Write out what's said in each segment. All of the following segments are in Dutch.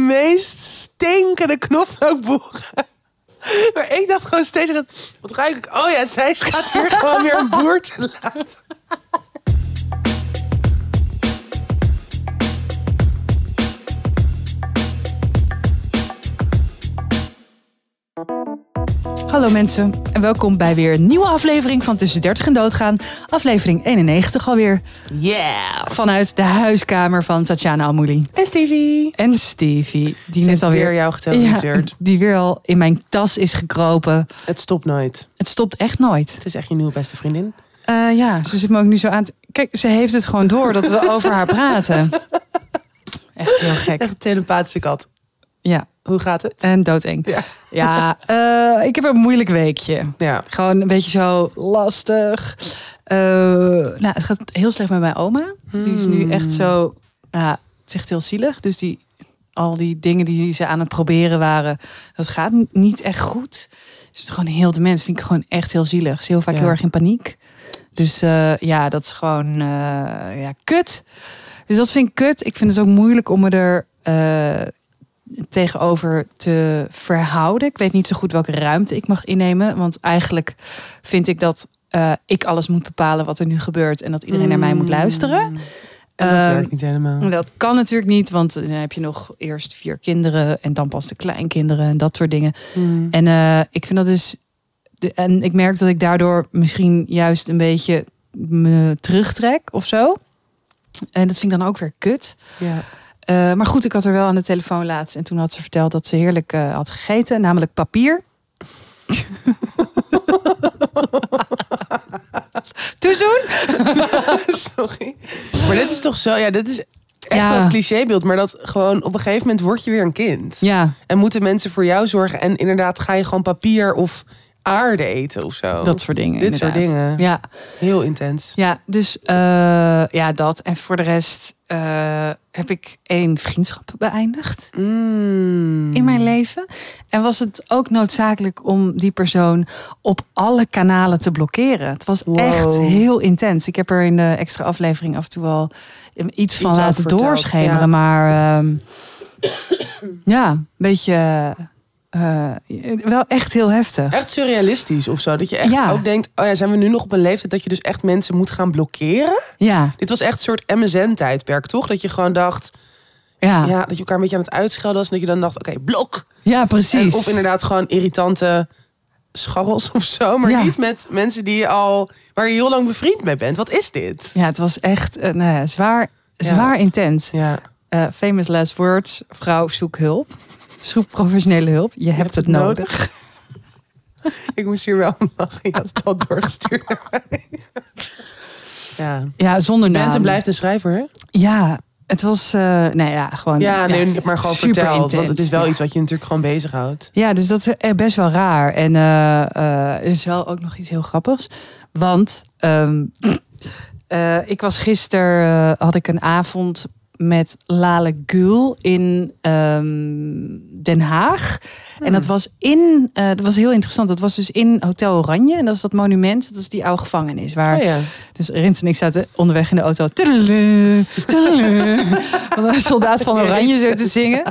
meest stinkende knoflookboeren. Maar ik dacht gewoon steeds, dat- wat ruik ik? Oh ja, zij staat hier gewoon weer een boer te laten. Hallo mensen en welkom bij weer een nieuwe aflevering van Tussen 30 en Doodgaan. Aflevering 91 alweer. Yeah. Vanuit de huiskamer van Tatjana Almouli. En Stevie. En Stevie, die Ze net heeft alweer... weer jou ja, geteleviseerd. die weer al in mijn tas is gekropen. Het stopt nooit. Het stopt echt nooit. Het is echt je nieuwe beste vriendin. Eh, ja, ze zit me ook nu zo aan te... Kijk, ze heeft het gewoon door dat we over haar praten. Echt heel gek. Echt een telepathische kat. Ja, Hoe gaat het? en doodeng. Ja. Ja, eh, ik heb een moeilijk weekje. Ja. Gewoon een beetje zo lastig. Eh, nou, het gaat heel slecht met mijn oma. Die is nu echt zo... Nou, het is echt heel zielig. Dus die, al die dingen die ze aan het proberen waren... dat gaat n- niet echt goed. Dus gewoon heel de mens vind ik gewoon echt heel zielig. Ze is heel vaak Ja. heel erg in paniek. Dus eh, ja, dat is gewoon eh, ja, kut. Dus dat vind ik kut. Ik vind het ook moeilijk om me er eh, tegenover te verhouden. Ik weet niet zo goed welke ruimte ik mag innemen. Want eigenlijk vind ik dat eh, ik alles moet bepalen wat er nu gebeurt. En dat iedereen naar mij moet Hmm. luisteren. Mm. En dat Ehm, werkt niet helemaal. Maar Dat kan natuurlijk niet, want eh, dan heb je nog eerst vier kinderen en dan pas de kleinkinderen en dat soort dingen. Hmm. En eh, ik vind dat dus. De, en ik merk dat ik daardoor misschien juist een beetje me terugtrek of zo. En dat vind ik dan ook weer kut. Ja. Eh, maar goed, ik had er wel aan de telefoon laatst. En toen had ze verteld dat ze heerlijk eh, had gegeten, namelijk papier. Toezoen? Sorry. Maar dit is toch zo, ja, dit is echt Ja. wel het clichébeeld. Maar dat gewoon op een gegeven moment word je weer een kind. Ja, En moeten mensen voor jou zorgen. En inderdaad ga je gewoon papier of aarde eten of zo. dat Oh, soort dingen. Dit soort inderdaad. dingen. Ja, Heel intens. ja dus eh, ja, dat. En voor de rest eh, heb ik één vriendschap beëindigd. Mm. in mijn leven. En was het ook noodzakelijk om die persoon op alle kanalen te blokkeren. Het was Wow. echt heel intens. Ik heb er in de extra aflevering af en toe al iets, van over laten verteld, doorschemeren. ja. Maar ehm, ja, een beetje eh, wel echt heel heftig. Echt surrealistisch of zo. Dat je echt Ja. ook denkt, oh ja, zijn we nu nog op een leeftijd dat je dus echt mensen moet gaan blokkeren? Ja, Dit was echt een soort MSN-tijdperk, toch? Dat je gewoon dacht, ja, ja, ja, dat je elkaar een beetje aan het uitschelden was. En dat je dan dacht, oké, blok. precies. En of inderdaad gewoon irritante scharrels of zo. Maar Ja. niet met mensen die je al, waar je heel lang bevriend mee bent. Wat is dit? Ja, het was echt eh, nou ja, zwaar, zwaar intens. Ja, Eh, famous last words. Vrouw, zoek hulp. Zoek professionele hulp. Je, hebt het nodig. ik moest hier wel om lachen. Je had het al doorgestuurd naar mij. Ja. Ja, Nou, zonder naam. Bente blijft een schrijver, hè? Ja, het was, eh nou ja, gewoon. Ja, nee, maar gewoon super verteld. Want intens. het is wel Ja. iets wat je natuurlijk gewoon bezighoudt. Ja, dus dat is eh, best wel raar. En eh, eh, er is wel ook nog iets heel grappigs. Want ehm, eh, ik was gisteren, eh, had ik een avond met Lale Gul in ehm, Den Haag. En Hmm. dat was in, eh, dat was heel interessant. Dat was dus in Hotel Oranje. En dat is dat monument, dat is die oude gevangenis. Waar Oh ja. Dus Rins en ik zaten onderweg in de auto. Tudelulu, tudelulu, van een soldaat van Oranje zo te zingen.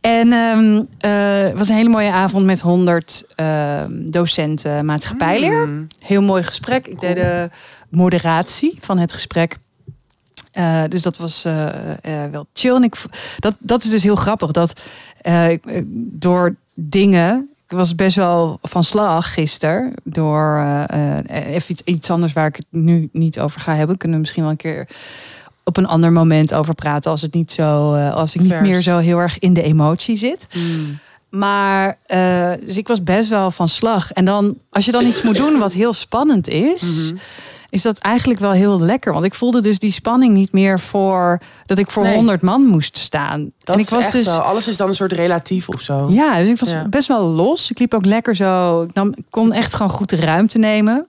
En ehm, eh, het was een hele mooie avond met 100 ehm, docenten maatschappijleer. Mm. Heel mooi gesprek. Ik deed de moderatie van het gesprek. Eh, dus dat was eh, eh, wel chill. En ik, v- dat, dat is dus heel grappig. Dat eh, ik- eh, door dingen. Ik was best wel van slag gisteren. Door eh, eh, even iets, iets anders waar ik het nu niet over ga hebben. Kunnen we misschien wel een keer op een ander moment over praten. Als het niet zo. eh, als ik niet Vers. meer zo heel erg in de emotie zit. Mm. Maar eh, dus ik was best wel van slag. En dan, als je dan iets moet doen wat heel spannend is, Mm-hmm. Mhm. is dat eigenlijk wel heel lekker. Want ik voelde dus die spanning niet meer voor dat ik voor Nee. 100 man moest staan. Dat en ik is was echt dus... zo. Alles is dan een soort relatief of zo. Ja, dus ik was Ja. best wel los. Ik liep ook lekker zo. Ik, nam, ik kon echt gewoon goed de ruimte nemen.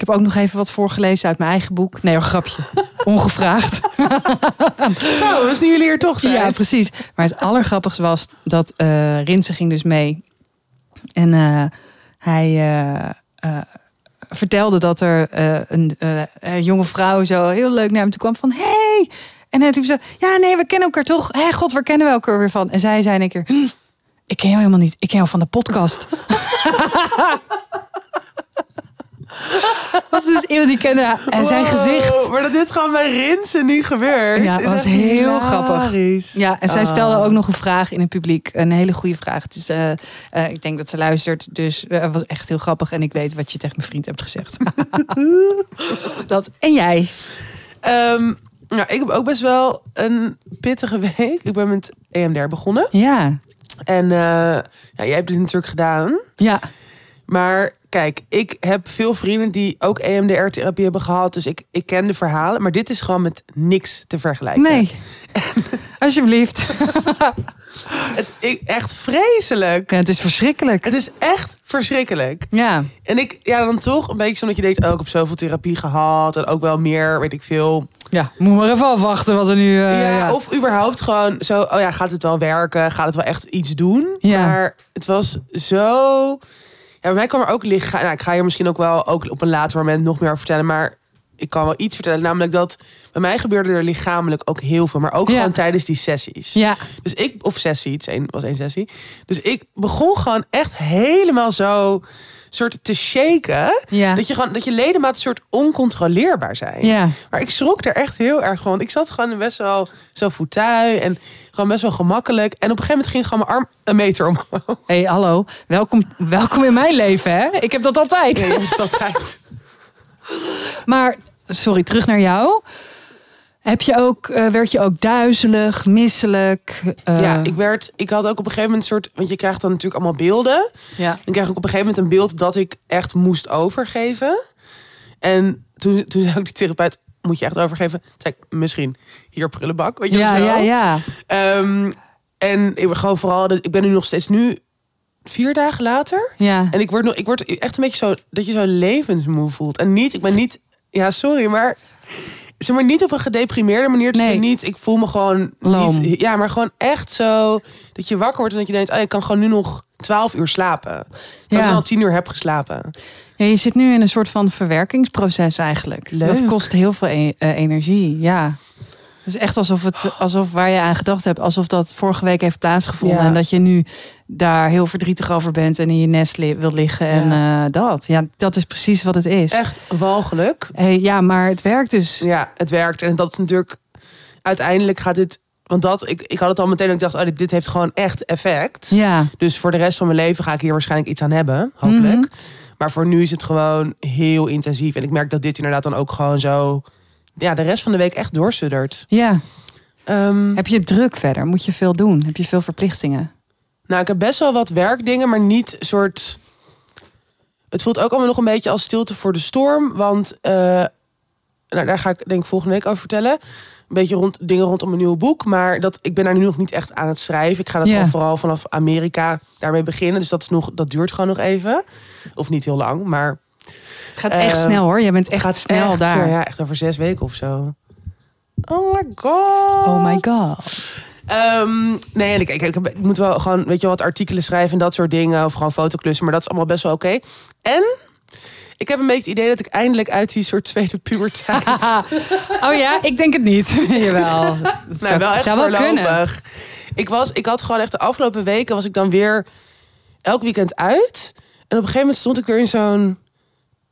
Ik heb ook nog even wat voorgelezen uit mijn eigen boek. Nee, een grapje. Ongevraagd. Trouwens, nu jullie hier toch zijn. Ja, precies. Maar het allergrappigste was dat eh Rinse ging dus mee. En eh, hij eh, eh, vertelde dat er eh, een eh, eh, jonge vrouw zo heel leuk naar hem toe kwam van... Hey, En hij liep zo, ja nee, we kennen elkaar toch. Hé god, waar kennen we elkaar weer van? En zij zei in een keer, "Hm, ik ken jou helemaal niet. Ik ken jou van de podcast. was dus iemand die kende haar. En zijn Wow, gezicht. Maar dat dit gewoon bij Rinsen nu gebeurt. Ja, is was echt heel hilarisch. Ja, en zij Ah. stelde ook nog een vraag in het publiek. Een hele goede vraag. Dus eh, eh, ik denk dat ze luistert. Dus eh, het was echt heel grappig. En ik weet wat je tegen mijn vriend hebt gezegd. dat. En jij? Ehm, nou, ik heb ook best wel een pittige week. Ik ben met E EMDR begonnen. Ja. En eh, ja, jij hebt dit natuurlijk gedaan. Ja. Maar kijk, ik heb veel vrienden die ook E EMDR-therapie hebben gehad. Dus ik, ik ken de verhalen. Maar dit is gewoon met niks te vergelijken. Nee. Alsjeblieft. Het, ik, echt vreselijk. Ja, het is verschrikkelijk. Het is echt verschrikkelijk. Ja. En ik, ja, dan toch een beetje omdat je denkt, oh, ik heb zoveel therapie gehad. En ook wel meer, weet ik veel. Ja. Moet maar even afwachten wat er nu... eh, ja, of überhaupt gewoon zo, oh ja, gaat het wel werken? Gaat het wel echt iets doen? Ja. Maar het was zo... Ja, bij mij kwam er ook lichaam... Nou, ik ga hier misschien ook wel ook op een later moment nog meer over vertellen. Maar ik kan wel iets vertellen. Namelijk dat bij mij gebeurde er lichamelijk ook heel veel. Maar ook Ja. gewoon tijdens die sessies. Ja. Dus ik, of sessie, het is één- was één sessie. Dus ik begon gewoon echt helemaal zo soort te shaken. Ja. Dat je gewoon, dat je ledematen soort oncontroleerbaar zijn. Ja. Maar ik schrok er echt heel erg van. Want ik zat gewoon best wel zo fauteuil en gewoon best wel gemakkelijk. En op een gegeven moment ging gewoon mijn arm een meter omhoog. Hé, hey, hallo. Welkom, welkom in mijn leven, hè? Ik heb dat altijd. Nee, dat is altijd. Maar, sorry, terug naar jou. Heb je ook, eh, werd je ook duizelig, misselijk? eh, Ja, ik werd, ik had ook op een gegeven moment een soort, want je krijgt dan natuurlijk allemaal beelden. ja. Dan krijg ik op een gegeven moment een beeld dat ik echt moest overgeven. En toen, toen zei ook die therapeut, moet je echt overgeven? Toen zei ik, misschien hier prullenbak, weet je Ja, wel zo. ja, ja. Ehm, en ik ben gewoon vooral, ik ben nu nog steeds nu vier dagen later. Ja. En ik word, nog, ik word echt een beetje zo, dat je zo levensmoe voelt. En niet, ik ben niet, ja sorry, maar... Zeg maar niet op een gedeprimeerde manier. Dus ik Nee. ben niet, ik voel me gewoon Loom. niet. Ja, maar gewoon echt zo dat je wakker wordt en dat je denkt, oh, ik kan gewoon nu nog 12 uur slapen. Terwijl Ja. ik al tien uur heb geslapen. Ja, je zit nu in een soort van verwerkingsproces eigenlijk. Leuk. Dat kost heel veel e- eh, energie, ja. Het is echt alsof, het, alsof waar je aan gedacht hebt, alsof dat vorige week heeft plaatsgevonden. Ja. En dat je nu daar heel verdrietig over bent en in je nest li- wilt liggen. En eh, dat. Ja, dat is precies wat het is. Echt walgelijk. Hey, ja, maar het werkt dus. Ja, het werkt. En dat is natuurlijk, uiteindelijk gaat dit, want dat, ik, ik had het al meteen, dat ik dacht, oh, dit, dit heeft gewoon echt effect. Ja, Dus voor de rest van mijn leven ga ik hier waarschijnlijk iets aan hebben, hopelijk. Maar voor nu is het gewoon heel intensief. En ik merk dat dit inderdaad dan ook gewoon zo... Ja, de rest van de week echt doorsuddert. ja. Ehm, Heb je druk verder? Moet je veel doen? Heb je veel verplichtingen? nou, ik heb best wel wat werkdingen, maar niet soort... Het voelt ook allemaal nog een beetje als stilte voor de storm. Want eh, nou, daar ga ik denk ik volgende week over vertellen. Een beetje rond, dingen rondom mijn nieuwe boek. Maar dat, ik ben daar nu nog niet echt aan het schrijven. Ik ga dat Ja. gewoon vooral vanaf Amerika daarmee beginnen. Dus dat, is nog, dat duurt gewoon nog even. Of niet heel lang, maar... Het gaat echt Ehm, snel hoor. Je bent Eh, echt gaat snel echt daar. snel, ja, echt over zes weken of zo. Oh my god. Oh my god. Ehm, nee, en ik, ik, ik, heb- ik moet wel gewoon, weet je wel, wat artikelen schrijven en dat soort dingen. Of gewoon fotoclussen, maar dat is allemaal best wel oké. En ik heb een beetje het idee dat ik eindelijk uit die soort tweede puberteit... Oh ja, ik denk het niet. Jawel. Dat nou, zou, wel echt zou wel kunnen. voorlopig. Ik, was, ik had gewoon echt de afgelopen weken was ik dan weer elk weekend uit. En op een gegeven moment stond ik weer in zo'n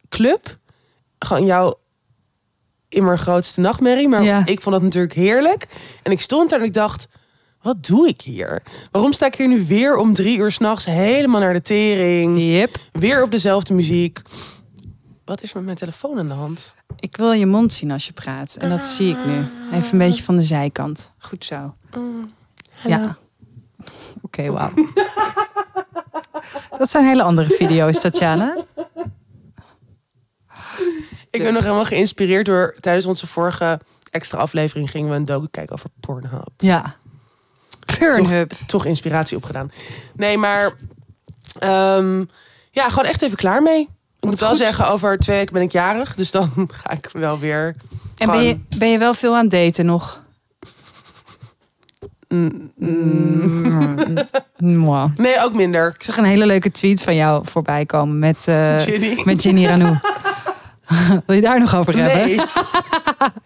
club. Gewoon jouw immer grootste nachtmerrie. Maar Ja. ik vond dat natuurlijk heerlijk. En ik stond daar en ik dacht, wat doe ik hier? Waarom sta ik hier nu weer om drie uur s'nachts helemaal naar de tering? Yep. Weer op dezelfde muziek. Wat is er met mijn telefoon aan de hand? Ik wil je mond zien als je praat. En dat zie ik nu. Even een beetje van de zijkant. Goed zo. Mm. Ja. Oké, wauw. Dat zijn hele andere video's, Tatjana. Ik Dus- ben nog helemaal geïnspireerd door. Tijdens onze vorige extra aflevering gingen we een docu kijken over Pornhub. Ja. Pornhub. Toch inspiratie opgedaan. Nee, maar. ehm, ja, gewoon echt even klaar mee. Ik moet wel goed. zeggen, over twee weken ben ik jarig. Dus dan ga ik wel weer. En ben je, ben je wel veel aan het daten nog? Mm, Mwah. Nee, ook minder. Ik zag een hele leuke tweet van jou voorbij komen met, eh Ginny. met Ginny Ranou. Wil je daar nog over hebben? Nee.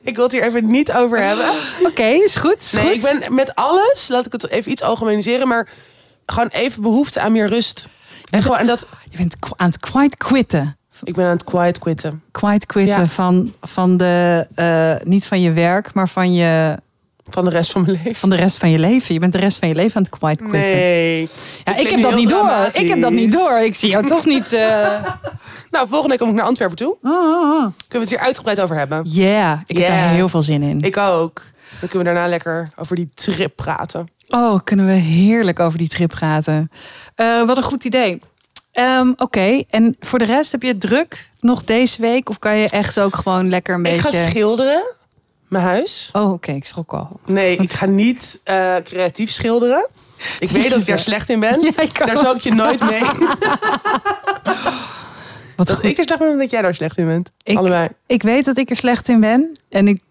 Ik wil het hier even niet over hebben. Oké, is goed. Is Nee, goed. ik ben met alles, laat ik het even iets algemeniseren, maar gewoon even behoefte aan meer rust. En, gewoon, en dat, Je bent k- aan het quite quitten. ik ben aan het quiet quitten. Quite quitten Ja. van, van de, eh, niet van je werk, maar van, je, Van de rest van mijn leven. van de rest van je leven. Je bent de rest van je leven aan het quite quitten. Nee. ja, ik klinkt heb dat heel niet door. Ik heb dat niet dramatisch. door. Ik zie jou toch niet. eh, Oh, Nou, volgende week kom ik naar Antwerpen toe. Ja, Kunnen we het hier uitgebreid over hebben? ik heb daar Yeah. heel veel zin in. Ik ook. Dan kunnen we daarna lekker over die trip praten. Oh, kunnen we heerlijk over die trip praten. Eh, wat een goed idee. Ehm, Oké, en voor de rest heb je het druk nog deze week? Of kan je echt ook gewoon lekker een Ik beetje... ga schilderen. Mijn huis. Oh, oké, ik schrok al. Nee, ik ga niet eh, creatief schilderen. Ik weet dat ik daar slecht in ben. Ja, ik Daar ook. zal ik je nooit mee. Wat Dat goed. ik dus- er slecht in ben, dat jij daar slecht in bent. Ik- Allebei. Ik weet dat ik er slecht in ben. En ik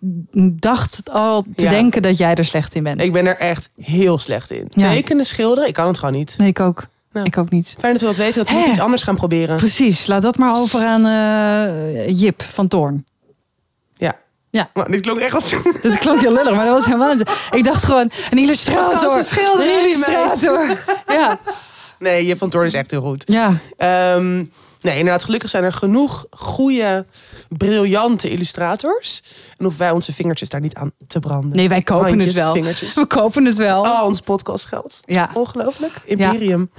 dacht al te Ja. denken dat jij er slecht in bent. Ik ben er echt heel slecht in. Ja. Tekenen, schilderen, ik kan het gewoon niet. Nee, ik ook. Nou. Ik ook niet. Fijn dat we dat weten, dat we Hè? iets anders gaan proberen. Precies, laat dat maar over aan eh, Jip van Toorn. Ja. Ja. Nou, dit klonk echt als... Dat klonk heel lullig, maar dat was helemaal niet. Ik dacht gewoon, een Dat kan illustrator. ze schilderen, Een hè, die illustrator. Ja, Nee, je van Toorn is echt heel goed. ja. Ehm, nee, inderdaad, gelukkig zijn er genoeg goede, briljante illustrators. En hoeven wij onze vingertjes daar niet aan te branden. Nee, wij kopen Handjes, het wel. Vingertjes. Oh. We kopen het wel. Al ons podcast geld. Ja. Ongelooflijk. Imperium.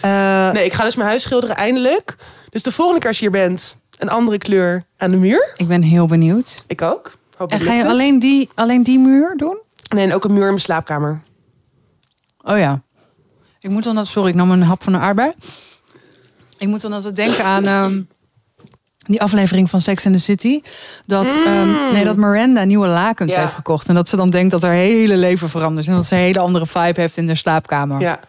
Eh, Nee, ik ga dus mijn huis schilderen eindelijk. Dus de volgende keer als je hier bent, een andere kleur aan de muur. Ik ben heel benieuwd. Ik ook. Hoop En dat ga lukt je het. alleen die, alleen die muur doen? Nee, en ook een muur in mijn slaapkamer. Oh ja. Ik moet dan dat... Sorry, ik nam een hap van een aardbei. Ik moet dan altijd denken aan... ehm, die aflevering van Sex in the City. Dat, ehm, nee, dat Miranda nieuwe lakens Mm. Ja. heeft gekocht. En dat ze dan denkt dat haar hele leven verandert. En dat ze een hele andere vibe heeft in haar slaapkamer. Ja.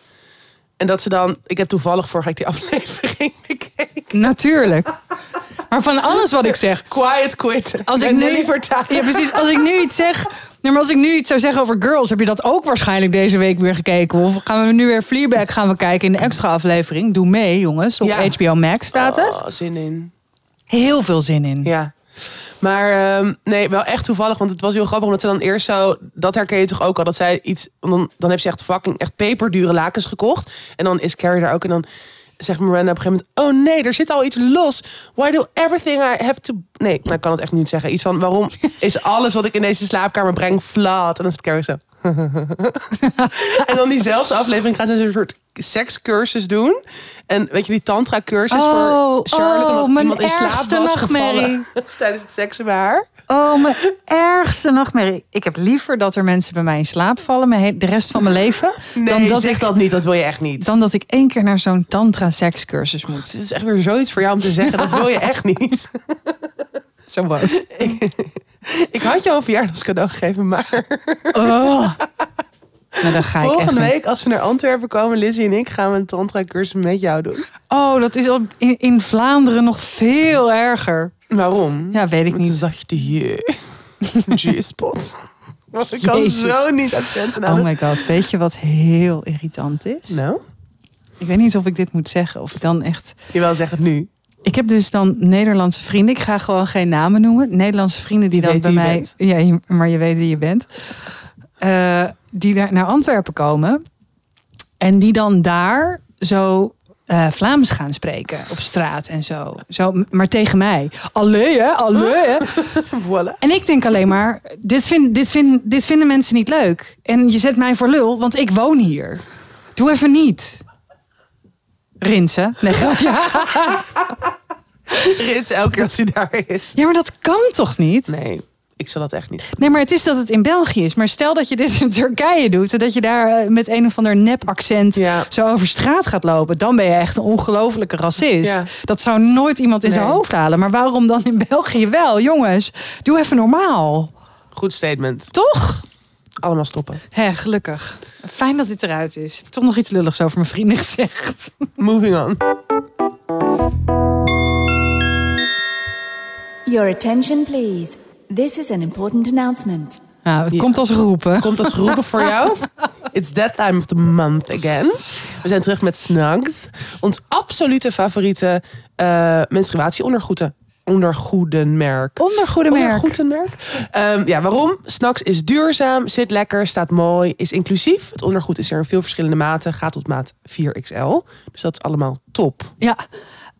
En dat ze dan... Ik heb toevallig vorige week die aflevering gekeken. Natuurlijk. Maar van alles wat ik zeg. Quiet quit. Als ik Met nu- Nelly Vertalen. Ja, precies. Als ik nu iets zeg. Nee, maar als ik nu iets zou zeggen over girls, heb je dat ook waarschijnlijk deze week weer gekeken. Of gaan we nu weer Fleabag gaan we kijken in de extra aflevering. Doe mee, jongens. Op Ja. HBO Max staat het. Oh, zin in. Heel veel zin in. Ja. Maar ehm, nee, wel echt toevallig. Want het was heel grappig. Omdat ze dan eerst zo... Dat herken je toch ook al. Dat zij iets... want Dan, dan heeft ze echt fucking echt peperdure lakens gekocht. En dan is Carrie daar ook. En dan zegt Miranda op een gegeven moment... Oh nee, er zit al iets los. Why do everything I have to... Nee, nou, ik kan het echt niet zeggen. Iets van waarom is alles wat ik in deze slaapkamer breng flat? En dan zit Carrie zo... en dan diezelfde aflevering gaan ze een soort sekscursus doen. En weet je, die tantra-cursus Oh, voor Charlotte. oh, omdat mijn iemand in slaap ergste was nachtmerrie. gevallen tijdens het seksen bij haar. Oh, mijn ergste nachtmerrie. Ik heb liever dat er mensen bij mij in slaap vallen mijn he- de rest van mijn leven. dan, dat ik, dat niet. Dat wil je echt niet. dan dat ik één keer naar zo'n tantra-sekscursus moet. Dit is echt weer zoiets voor jou om te zeggen. Dat wil je echt niet. Zo boos. Ik had je al een verjaardagscadeau gegeven, maar Oh. Nou, dan ga ik echt volgende niet. week als we naar Antwerpen komen, Lizzie en ik, gaan we een tantra cursus met jou doen. Oh, dat is al in, in Vlaanderen nog veel erger. Waarom? Ja, weet ik Met een niet. zachte je. G-spot. Want ik kan Jezus. zo niet accenten Oh aan. my god, weet je wat heel irritant is? nou, Ik weet niet of ik dit moet zeggen. Of ik dan echt. jawel, zeg het nu. Ik heb dus dan Nederlandse vrienden. Ik ga gewoon geen namen noemen. Nederlandse vrienden die Je dan weet bij wie je mij. bent. Ja, je- maar je weet wie je bent. Eh, die daar naar Antwerpen komen. En die dan daar zo eh, Vlaams gaan spreken. Op straat en zo. zo maar tegen mij. Allee, hè? Allee, hè? Voilà. En ik denk alleen maar, dit, vind, dit, vind, dit vinden mensen niet leuk. En je zet mij voor lul, want ik woon hier. Doe even niet. Rinsen. Nee, grapje. Rits elke keer als hij daar is. Ja, maar dat kan toch niet? Nee. Nee, ik zal dat echt niet. maar het is dat het in België is. Maar stel dat je dit in Turkije doet. Zodat je daar eh, met een of ander nep accent Ja. zo over straat gaat lopen. Dan ben je echt een ongelofelijke racist. Ja. Dat zou nooit iemand in zijn Nee. hoofd halen. Maar waarom dan in België wel? Jongens, doe even normaal. Goed statement. Toch? Allemaal stoppen. Hé, gelukkig. Fijn dat dit eruit is. Ik heb toch nog iets lulligs over mijn vrienden gezegd. Moving on. Your attention, please. This is an important announcement. Nou, het Ja. komt als roepen. komt als roepen voor jou. It's that time of the month again. We zijn terug met Snugs. Ons absolute favoriete eh menstruatieondergoeden. ondergoedenmerk. Ondergoedenmerk. Ondergoedenmerk. Ehm, ja, waarom? Snacks is duurzaam, zit lekker, staat mooi, is inclusief. Het ondergoed is er in veel verschillende maten, gaat tot maat 4XL. Dus dat is allemaal top. Ja,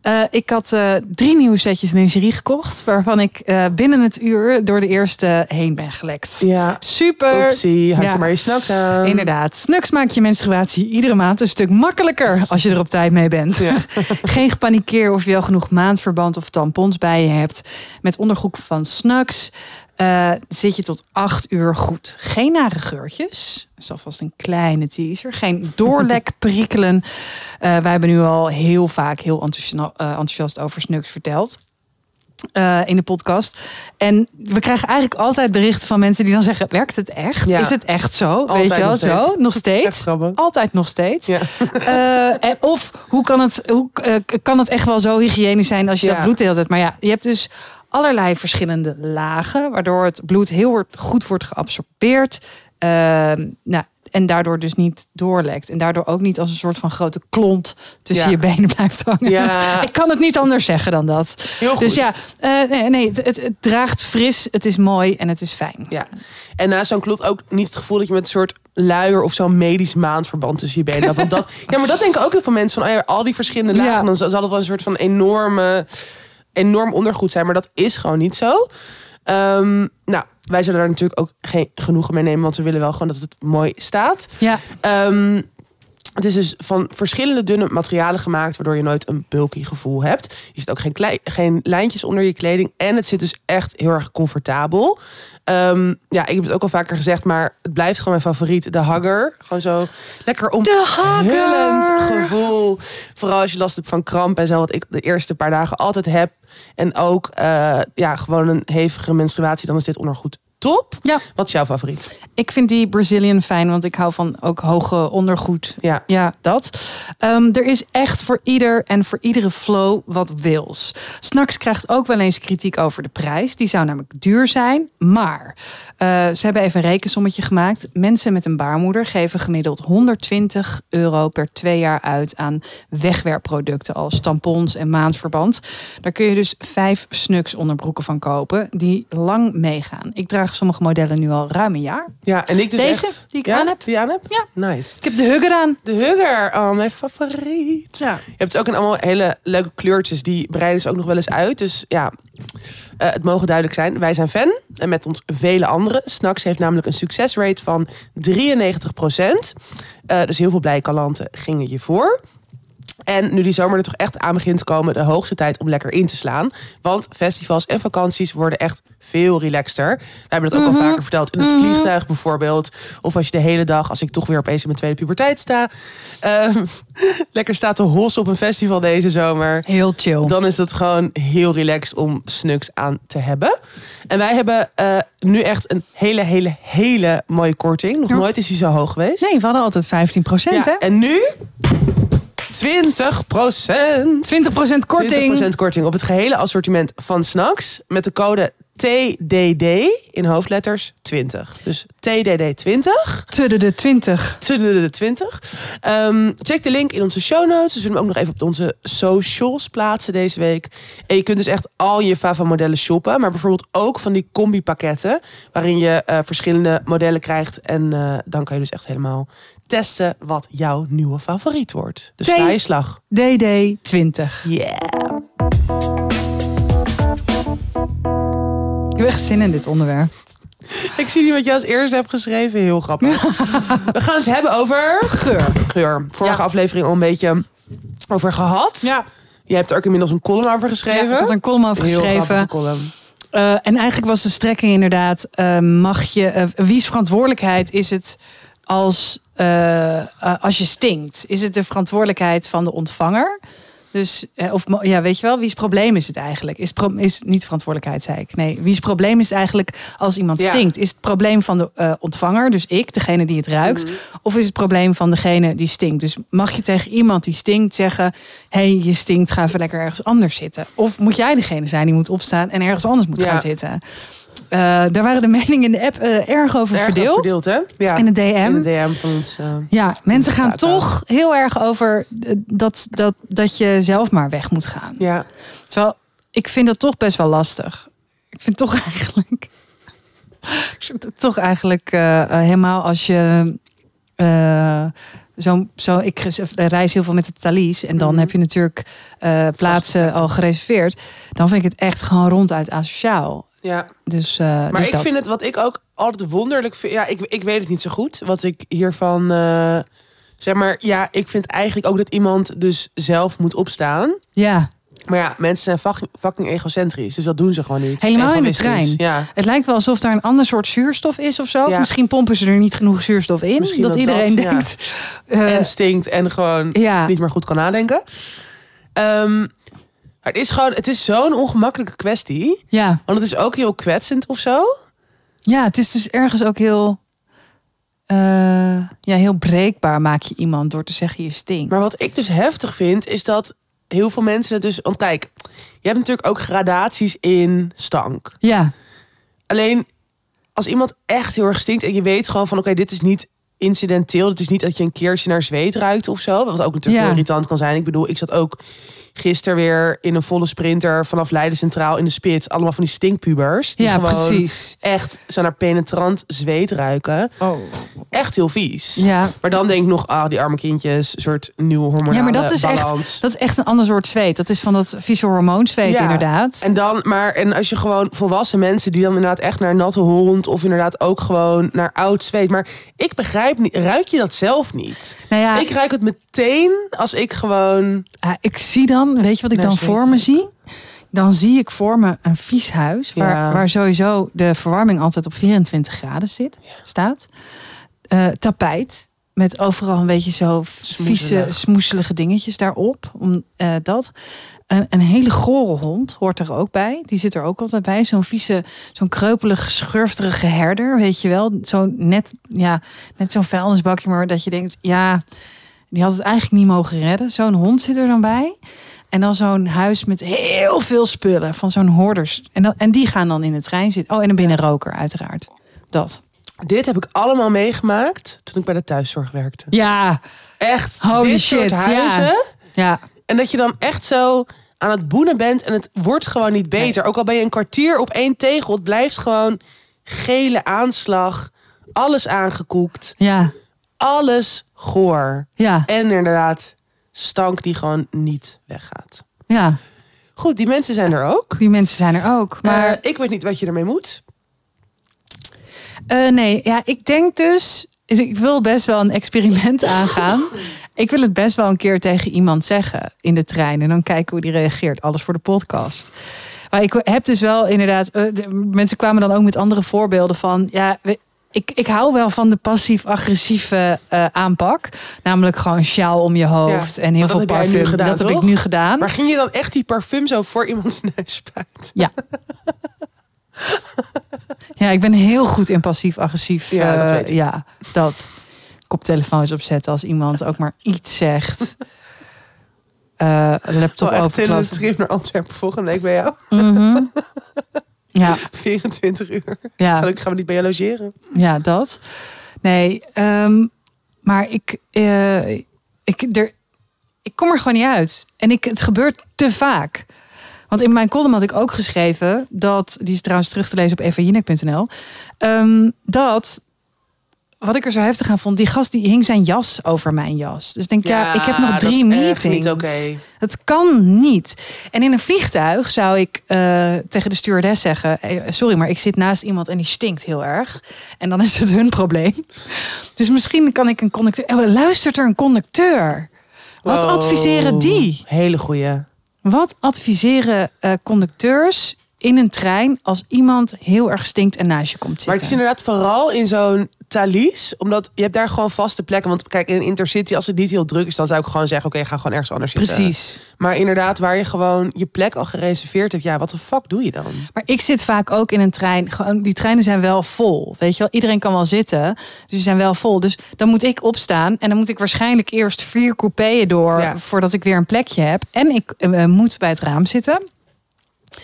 eh, ik had eh, drie nieuwe setjes lingerie gekocht. Waarvan ik eh, binnen het uur door de eerste heen ben gelekt. Ja, Super. oepsie, had Ja. je maar je snacks aan. Inderdaad, Snux maakt je menstruatie iedere maand een stuk makkelijker als je er op tijd mee bent. Ja. Geen gepanikeer of je wel genoeg maandverband of tampons bij je hebt. Met ondergoed van Snux eh, zit je tot acht uur goed. Geen nare geurtjes. Dat is alvast een kleine teaser. Geen doorlek, prikkelen. Eh, wij hebben nu al heel vaak heel enthousiast, eh, enthousiast over Snux verteld. eh, in de podcast. En we krijgen eigenlijk altijd berichten van mensen die dan zeggen: werkt het echt? Ja. Is het echt zo? Altijd Weet je wel, nog steeds. zo? Nog Echt steeds? grappig. Altijd nog steeds. Ja. Eh, en of hoe kan het, hoe, eh, kan het echt wel zo hygiënisch zijn als je Ja. dat bloed de hele tijd... Maar ja, je hebt dus allerlei verschillende lagen... waardoor het bloed heel wordt- goed wordt geabsorbeerd. Ehm, nou, en daardoor dus niet doorlekt. En daardoor ook niet als een soort van grote klont tussen Ja. je benen blijft hangen. Ja. Ik kan het niet anders zeggen dan dat. Heel goed. Dus ja, eh, nee, nee het, het, het draagt fris, het is mooi en het is fijn. Ja. En naast zo'n klot ook niet het gevoel dat je met een soort luier of zo'n medisch maandverband tussen je benen hebt. Want dat, ja, maar dat denken ook heel veel mensen van oh ja, al die verschillende lagen. Ja. Dan zal het wel een soort van enorme, enorm ondergoed zijn. Maar dat is gewoon niet zo. Ehm, nou, wij zullen daar natuurlijk ook geen genoegen mee nemen, want we willen wel gewoon dat het mooi staat. Ja, Ehm, het is dus van verschillende dunne materialen gemaakt, waardoor je nooit een bulky gevoel hebt. Je zit ook geen, klei- geen lijntjes onder je kleding en het zit dus echt heel erg comfortabel. Ehm, ja, ik heb het ook al vaker gezegd, maar het blijft gewoon mijn favoriet, de hugger. Gewoon zo lekker De hugger! omhullend gevoel. Vooral als je last hebt van kramp en zo, wat ik de eerste paar dagen altijd heb. En ook eh, ja, gewoon een hevige menstruatie, dan is dit ondergoed top. Ja. Wat is jouw favoriet? ik vind die Brazilian fijn, want ik hou van ook hoge ondergoed. Ja. Ja, dat. Ehm, er is echt voor ieder en voor iedere flow wat wils. Snacks krijgt ook wel eens kritiek over de prijs. Die zou namelijk duur zijn. Maar eh, ze hebben even een rekensommetje gemaakt. Mensen met een baarmoeder geven gemiddeld 120 euro per twee jaar uit aan wegwerpproducten als tampons en maandverband. Daar kun je dus vijf snuks onderbroeken van kopen die lang meegaan. Ik draag sommige modellen nu al ruim een jaar. Ja, en ik dus Deze echt- die ik ja? aan heb? Die je aan hebt? Ja. Nice. Ik heb de hugger aan. De Hugger, oh, mijn favoriet. Ja. Je hebt ook een allemaal hele leuke kleurtjes. Die breiden ze ook nog wel eens uit. Dus ja, eh, het mogen duidelijk zijn. Wij zijn fan. En met ons vele anderen. Snax heeft namelijk een succesrate van 93 Eh, dus heel veel blije kalanten gingen je voor. En nu die zomer er toch echt aan begint te komen, de hoogste tijd om lekker in te slaan. Want festivals en vakanties worden echt veel relaxter. We hebben dat ook al vaker verteld. In het vliegtuig bijvoorbeeld. Of als je de hele dag, als ik toch weer opeens in mijn tweede puberteit sta. ehm, lekker staat te hossen op een festival deze zomer. Heel chill. Dan is dat gewoon heel relaxed om snuks aan te hebben. En wij hebben eh, nu echt een hele, hele, hele mooie korting. Nog Ja. nooit is die zo hoog geweest. Nee, we hadden altijd 15 procent, Ja, hè? en nu 20 procent. 20 procent korting. 20% korting op het gehele assortiment van snacks. Met de code TDD in hoofdletters 20. Dus TDD 20. Tudde de 20. TDD 20. Ehm, check de link in onze show notes. We zullen hem ook nog even op onze socials plaatsen deze week. En je kunt dus echt al je Fava modellen shoppen. Maar bijvoorbeeld ook van die combi pakketten. Waarin je eh, verschillende modellen krijgt. En eh, dan kan je dus echt helemaal testen wat jouw nieuwe favoriet wordt. Dus Tee. sla je slag. DD 20. Yeah. Ik heb echt zin in dit onderwerp. Ik zie niet wat je als eerste hebt geschreven. Heel grappig. We gaan het hebben over Geur. geur. Vorige Ja. aflevering al een beetje over gehad. Je hebt er ook inmiddels een column over geschreven. ik had een column over Heel grappige geschreven. column. Eh, en eigenlijk was de strekking inderdaad: eh, mag je, eh, wies verantwoordelijkheid is het als, eh, eh, als je stinkt? Is het de verantwoordelijkheid van de ontvanger? Dus, eh, of, mo- ja, weet je wel, wie's probleem is het eigenlijk? Is, pro- is niet verantwoordelijkheid, zei ik. Nee, wie's probleem is het eigenlijk als iemand Ja. stinkt? Is het probleem van de eh, ontvanger, dus ik, degene die het ruikt? Of is het probleem van degene die stinkt? Dus mag je tegen iemand die stinkt zeggen: hey, je stinkt, ga even lekker ergens anders zitten? Of moet jij degene zijn die moet opstaan en ergens anders moet Ja. gaan zitten? Eh, daar waren de meningen in de app eh, erg over Erg verdeeld. verdeeld, hè? Ja. In de DM. In de DM van ons. eh, Ja, mensen gaan Vaak toch heel erg over eh, dat, dat, dat je zelf maar weg moet gaan. ja. Terwijl ik vind dat toch best wel lastig. Ik vind toch eigenlijk. ik vind het toch eigenlijk eh, eh, helemaal als je. eh, zo, zo, ik eh, reis heel veel met de Thalys. En dan Mhm. heb je natuurlijk eh, plaatsen al gereserveerd. Dan vind ik het echt gewoon ronduit asociaal. Ja. Dus, eh, Maar dus ik dat. vind het wat ik ook altijd wonderlijk vind. Ja, ik, ik weet het niet zo goed. Wat ik hiervan. eh, zeg maar, ja, ik vind eigenlijk ook dat iemand dus zelf moet opstaan. Ja, Maar ja, mensen zijn fucking, fucking egocentrisch. Dus dat doen ze gewoon niet. Helemaal in de Egoïstisch. trein. Ja. het lijkt wel alsof daar een ander soort zuurstof is of zo. Of Ja. misschien pompen ze er niet genoeg zuurstof in. Misschien dat dat iedereen dat, ja. denkt. eh, en stinkt en gewoon ja, niet meer goed kan nadenken. Ehm, maar het is gewoon, het is zo'n ongemakkelijke kwestie. ja. Want het is ook heel kwetsend of zo. Ja, het is dus ergens ook heel, eh, ja, heel breekbaar maak je iemand door te zeggen je stinkt. Maar wat ik dus heftig vind, is dat heel veel mensen het dus. Want kijk, je hebt natuurlijk ook gradaties in stank. Ja, Alleen als iemand echt heel erg stinkt en je weet gewoon van oké, dit is niet incidenteel. Het is niet dat je een keertje naar zweet ruikt of zo. Wat ook natuurlijk Ja. heel irritant kan zijn. Ik bedoel, ik zat ook gisteren weer in een volle sprinter vanaf Leiden Centraal in de spits. Allemaal van die stinkpubers. Die ja gewoon precies. echt zo naar penetrant zweet ruiken. Oh. Echt heel vies. Ja. Maar dan denk ik nog, ah, die arme kindjes, een soort nieuwe hormonale ja, maar dat is, balans. echt, dat is echt een ander soort zweet. Dat is van dat vieze hormoonzweet Ja. inderdaad. En dan, maar en als je gewoon volwassen mensen die dan inderdaad echt naar natte hond of inderdaad ook gewoon naar oud zweet. Maar ik begrijp niet, ruik je dat zelf niet? nou ja, Ik ik, ruik het meteen als ik gewoon. ik zie dan, weet je wat ik Naar dan zweet voor me zie? Dan zie ik voor me een vies huis waar, Ja. waar sowieso de verwarming altijd op 24 graden zit, staat. Eh, tapijt met overal een beetje zo vieze, Smoezelig. smoeselige dingetjes daarop. Om, eh, dat. Een, een hele gore hond hoort er ook bij. Die zit er ook altijd bij. Zo'n vieze, zo'n kreupelig, schurfterige herder, weet je wel. Zo net, ja, net zo'n vuilnisbakje, maar dat je denkt, ja, die had het eigenlijk niet mogen redden. Zo'n hond zit er dan bij. En dan zo'n huis met heel veel spullen van zo'n hoorders. En, dan, en die gaan dan in de trein zitten. Oh, en een binnenroker, uiteraard. Dat. Dit heb ik allemaal meegemaakt toen ik bij de thuiszorg werkte. Ja, Echt, Holy dit shit, soort ja. huizen. ja. En dat je dan echt zo aan het boenen bent en het wordt gewoon niet beter. Ook al ben je een kwartier op één tegel, het blijft gewoon gele aanslag. Alles aangekoekt, Ja, alles goor. ja, En inderdaad, stank die gewoon niet weggaat. ja. Goed, die mensen zijn er ook. Die mensen zijn er ook. Maar Maar ik weet niet wat je ermee moet. eh, nee, ja, ik denk dus. Ik wil best wel een experiment aangaan. Ik wil het best wel een keer tegen iemand zeggen in de trein. En dan kijken hoe die reageert. Alles voor de podcast. Maar ik heb dus wel inderdaad. eh, de- mensen kwamen dan ook met andere voorbeelden van. Ja, we- ik, ik hou wel van de passief-agressieve eh, aanpak. Namelijk gewoon sjaal om je hoofd en heel maar dat veel heb jij nu parfum. gedaan, dat heb ik toch? nu gedaan. Maar ging je dan echt die parfum zo voor iemands neus spuiten? Ja, ik ben heel goed in passief-agressief. Ja, dat eh, weet ik. Ja, dat. Koptelefoons opzetten als iemand ook maar iets zegt. Eh, laptop Toch Oh, echt zin in de openklappen. trip naar Antwerpen volgende week bij jou. Mhm. Ja, 24 uur. ja, Gelukkig gaan we niet bij jou logeren. ja, dat. Nee, ehm, maar ik, eh, ik, er, ik kom er gewoon niet uit. En ik, het gebeurt te vaak. Want in mijn column had ik ook geschreven dat, die is trouwens terug te lezen op evajinek.nl, ehm, dat wat ik er zo heftig aan vond, die gast die hing zijn jas over mijn jas. Dus ik denk ja, ik heb nog dat drie is echt meetings. Niet oké. Het kan niet. En in een vliegtuig zou ik eh, tegen de stewardess zeggen: "Hey, Sorry, maar ik zit naast iemand en die stinkt heel erg. En dan is het hun probleem. Dus misschien kan ik een conducteur. Oh, luistert er een conducteur? Wat Wow. adviseren die? Hele goeie. Wat adviseren eh, conducteurs in een trein als iemand heel erg stinkt en naast je komt Maar het is zitten? inderdaad vooral in zo'n Thalys. Omdat je hebt daar gewoon vaste plekken. Want kijk, in een Intercity, als het niet heel druk is... dan zou ik gewoon zeggen, oké, ga gewoon ergens anders zitten. Precies. Maar inderdaad, waar je gewoon je plek al gereserveerd hebt, ja, wat de fuck doe je dan? Maar ik zit vaak ook in een trein. Gewoon, die treinen zijn wel vol. Weet je wel, iedereen kan wel zitten. Dus die zijn wel vol. Dus dan moet ik opstaan. En dan moet ik waarschijnlijk eerst vier coupéën door. Ja. Voordat ik weer een plekje heb. En ik eh, eh, moet bij het raam zitten.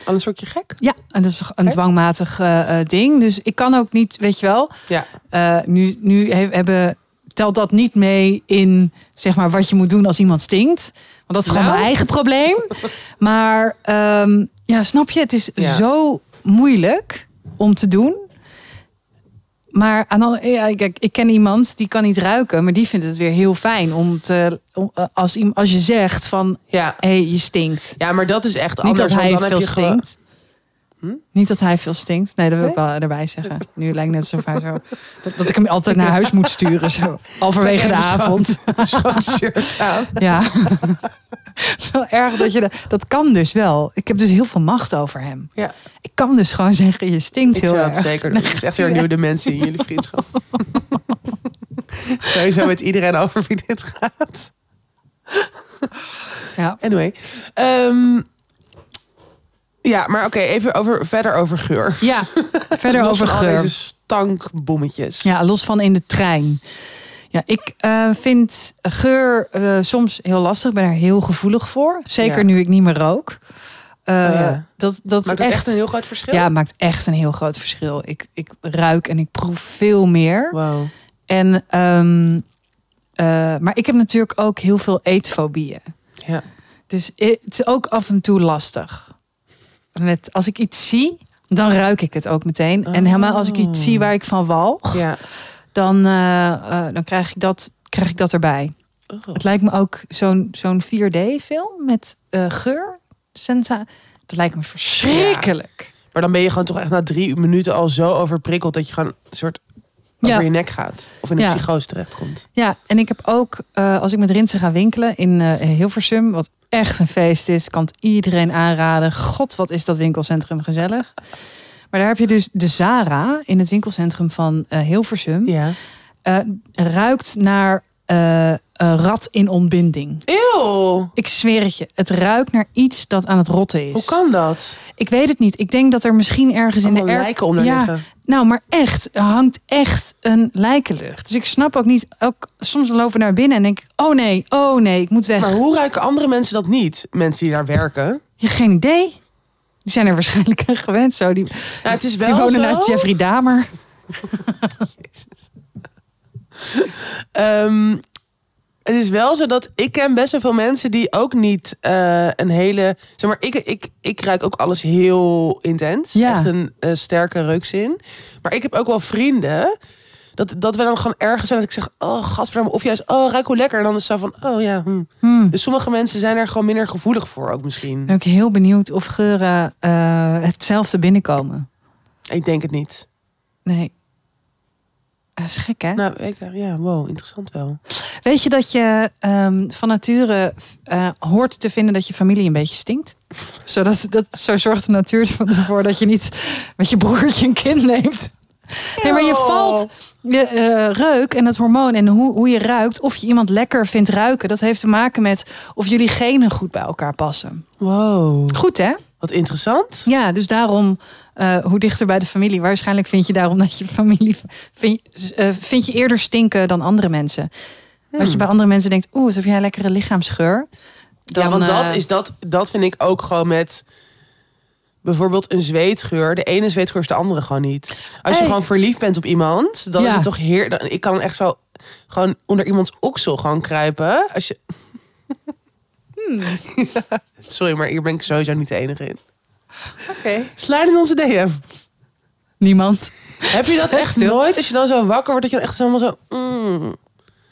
Anders word je gek. Ja, en dat is een Oké. dwangmatig eh, eh, ding. Dus ik kan ook niet, weet je wel. Ja. eh, nu nu he- hebben, telt dat niet mee in zeg maar, wat je moet doen als iemand stinkt. Want dat is gewoon Nou. mijn eigen probleem. Maar ehm, Ja, snap je? Het is Ja. zo moeilijk om te doen. Maar aan de andere- ja, kijk, ik ken iemand die kan niet ruiken, maar die vindt het weer heel fijn om te om, eh, als, iem- als je zegt van Ja. hé, je stinkt. ja, maar dat is echt Niet anders. dat hij want dan veel heb je gewoon- stinkt. Hm? Niet dat hij veel stinkt. Nee, dat wil ik wel erbij zeggen. Nu lijkt net alsof hij zo dat, dat ik hem altijd naar huis moet sturen zo halverwege de Even schoon- avond. schoon shirt aan. Ja. Het is wel erg dat je dat, dat kan dus wel. Ik heb dus heel veel macht over hem. Ja, Ik kan dus gewoon zeggen, je stinkt ik heel zou erg. dat zeker doen. Het is echt weer een nieuwe dimensie in jullie vriendschap. Sowieso met iedereen over wie dit gaat. Ja. Anyway. Ehm, ja, maar oké, even over, verder over geur. ja, verder Los over van geur. Al deze stankbommetjes. Ja, los van in de trein. Ja, ik eh, vind geur eh, soms heel lastig. Ik ben er heel gevoelig voor. Zeker Ja. nu ik niet meer rook. Eh, Oh ja. Dat, dat Maakt is dat echt, echt een heel groot verschil? Ja, maakt echt een heel groot verschil. Ik, ik ruik en ik proef veel meer. Wow. En, ehm, eh, maar ik heb natuurlijk ook heel veel eetfobieën. Ja. Dus i- het is ook af en toe lastig. Met, als ik iets zie, dan ruik ik het ook meteen. En helemaal als ik iets zie waar ik van walg, Oh. Ja. dan, eh, eh, dan krijg, ik dat, krijg ik dat erbij. Het lijkt me ook zo'n zo'n 4D-film met eh, geur, sensa. Dat lijkt me verschrikkelijk. Maar dan ben je gewoon toch echt na drie minuten al zo overprikkeld dat je gewoon een soort Ja. over je nek gaat. Of in een Ja. psychose terechtkomt. Ja, en ik heb ook, eh, als ik met Rinsen ga winkelen in eh, Hilversum, wat echt een feest is, kan het iedereen aanraden. God, wat is dat winkelcentrum gezellig. Maar daar heb je dus de Zara in het winkelcentrum van eh, Hilversum. Ja. eh, ruikt naar eh, een rat in ontbinding. Eeuw! Ik zweer het je, het ruikt naar iets dat aan het rotten is. Hoe kan Oh, dat? Ik weet het niet. Ik denk dat er misschien ergens in de Allemaal air... lijken onder Ja, liggen. nou, maar echt, er hangt echt een lijkenlucht. Dus ik snap ook niet. Ook, soms lopen we naar binnen en denk ik: oh nee, oh nee, ik moet weg. Maar hoe ruiken andere mensen dat niet? Mensen die daar werken. Je geen idee. Die zijn er waarschijnlijk aan gewend. Zo. Die, Ja, Nou, het is wel die wonen zo. naast Jeffrey Dahmer. Ehm, het is wel zo dat ik ken best wel veel mensen die ook niet eh, een hele. Zeg maar, ik, ik, ik ruik ook alles heel intens. Ja. Echt een eh, sterke reukzin. Maar ik heb ook wel vrienden. Dat, dat we dan gewoon ergens zijn dat ik zeg, oh gadverdamme. Of juist, oh ruik hoe lekker. En dan is het zo van, oh ja. hm. Hmm. Dus sommige mensen zijn er gewoon minder gevoelig voor ook misschien. Ben ook heel benieuwd of geuren eh, hetzelfde binnenkomen. Ik denk het niet. Nee. Dat is gek, hè? Nou, ik, ja, wow, interessant wel. Weet je dat je ehm, van nature eh, hoort te vinden dat je familie een beetje stinkt? Zodat, dat, zo zorgt de natuur ervoor dat je niet met je broertje een kind neemt. Nee, maar je valt je eh, reuk en dat hormoon en hoe, hoe je ruikt, of je iemand lekker vindt ruiken, dat heeft te maken met of jullie genen goed bij elkaar passen. Wow. Goed hè? Wat interessant. Ja, dus daarom, eh, hoe dichter bij de familie, waarschijnlijk vind je daarom dat je familie, vind, eh, vind je eerder stinken dan andere mensen. Hmm. Als je bij andere mensen denkt, oeh, wat heb jij een lekkere lichaamsgeur. Dan, ja, want dat, eh, is, dat, dat vind ik ook gewoon met bijvoorbeeld een zweetgeur. De ene zweetgeur is de andere gewoon niet. Als je Hey. gewoon verliefd bent op iemand, dan Ja. is het toch heer. Dan, ik kan echt zo gewoon onder iemands oksel gewoon kruipen. Als je... Hmm. Ja, sorry, maar hier ben ik sowieso niet de enige in. Slijden in onze DM. Niemand. Heb je dat Vet echt stil. nooit? Als je dan zo wakker wordt, dat je dan echt helemaal zo... mm.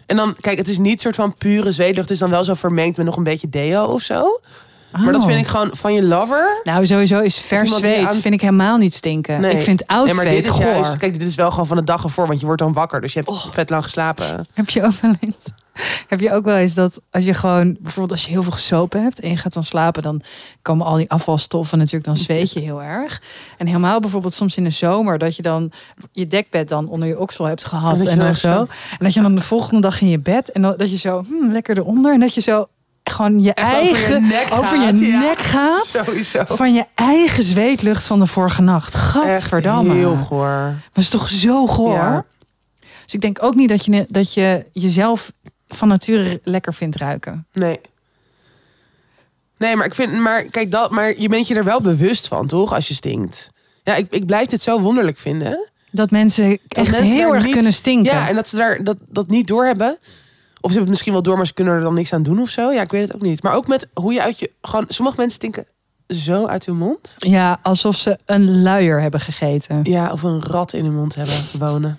En dan, kijk, het is niet soort van pure zweetlucht. Het is dan wel zo vermengd met nog een beetje deo of zo. Maar dat Oh. vind ik gewoon van je lover. Nou, sowieso is vers iemand die zweet, aan- vind ik helemaal niet stinken. Nee. Ik vind oud Nee, maar dit zweet is goor. Oh. juist- kijk, dit is wel gewoon van de dag ervoor, want je wordt dan wakker. Dus je hebt vet lang geslapen. Heb je ook wel eens? Heb je ook wel eens dat als je gewoon, bijvoorbeeld als je heel veel gesopen hebt en je gaat dan slapen, dan komen al die afvalstoffen natuurlijk, dan zweet je heel erg. En helemaal bijvoorbeeld soms in de zomer, dat je dan je dekbed dan onder je oksel hebt En gehad dat je en dan dan zo. zo- En dat je dan de volgende dag in je bed en dan, dat je zo hmm, lekker eronder en dat je zo gewoon je Echt over je eigen nek over gaat, je ja. nek gaat Sowieso. van je eigen zweetlucht van de vorige nacht. Echt Gadverdamme. heel goor. Maar het is toch zo goor? Ja. Dus ik denk ook niet dat je, dat je jezelf van nature lekker vindt ruiken. Nee. Nee, maar ik vind, maar kijk dat, maar je bent je er wel bewust van, toch? Als je stinkt. Ja, ik, ik blijf dit zo wonderlijk vinden. Dat mensen echt mensen heel daar erg niet- kunnen stinken. Ja, en dat ze daar dat, dat niet doorhebben. Of ze hebben het misschien wel door, maar ze kunnen er dan niks aan doen of zo. Ja, ik weet het ook niet. Maar ook met hoe je uit je. Gewoon, sommige mensen stinken zo uit hun mond. Ja, alsof ze een luier hebben gegeten. Ja, of een rat in hun mond hebben wonen.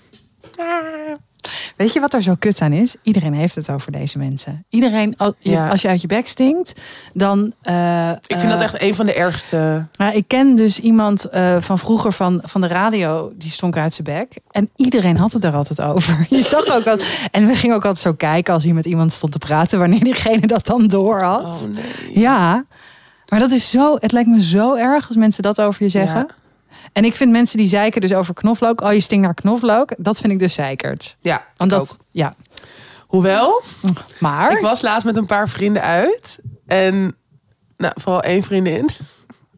Weet je wat er zo kut aan is? Iedereen heeft het over deze mensen. Iedereen, al- je- Ja. als je uit je bek stinkt, dan. eh, Ik vind eh, dat echt een van de ergste. Maar ik ken dus iemand eh, van vroeger van, van de radio, die stonk uit zijn bek. En iedereen had het daar altijd over. Je zag ook al, en we gingen ook altijd zo kijken als hij met iemand stond te praten, wanneer diegene dat dan door had. Oh nee. Ja, maar dat is zo, het lijkt me zo erg als mensen dat over je zeggen. Ja. En ik vind mensen die zeiken dus over knoflook, oh je stinkt naar knoflook, dat vind ik dus zeikerd. Ja, Want ik dat, ook. ja. Hoewel, Maar. Ik was laatst met een paar vrienden uit. En nou, vooral één vriendin.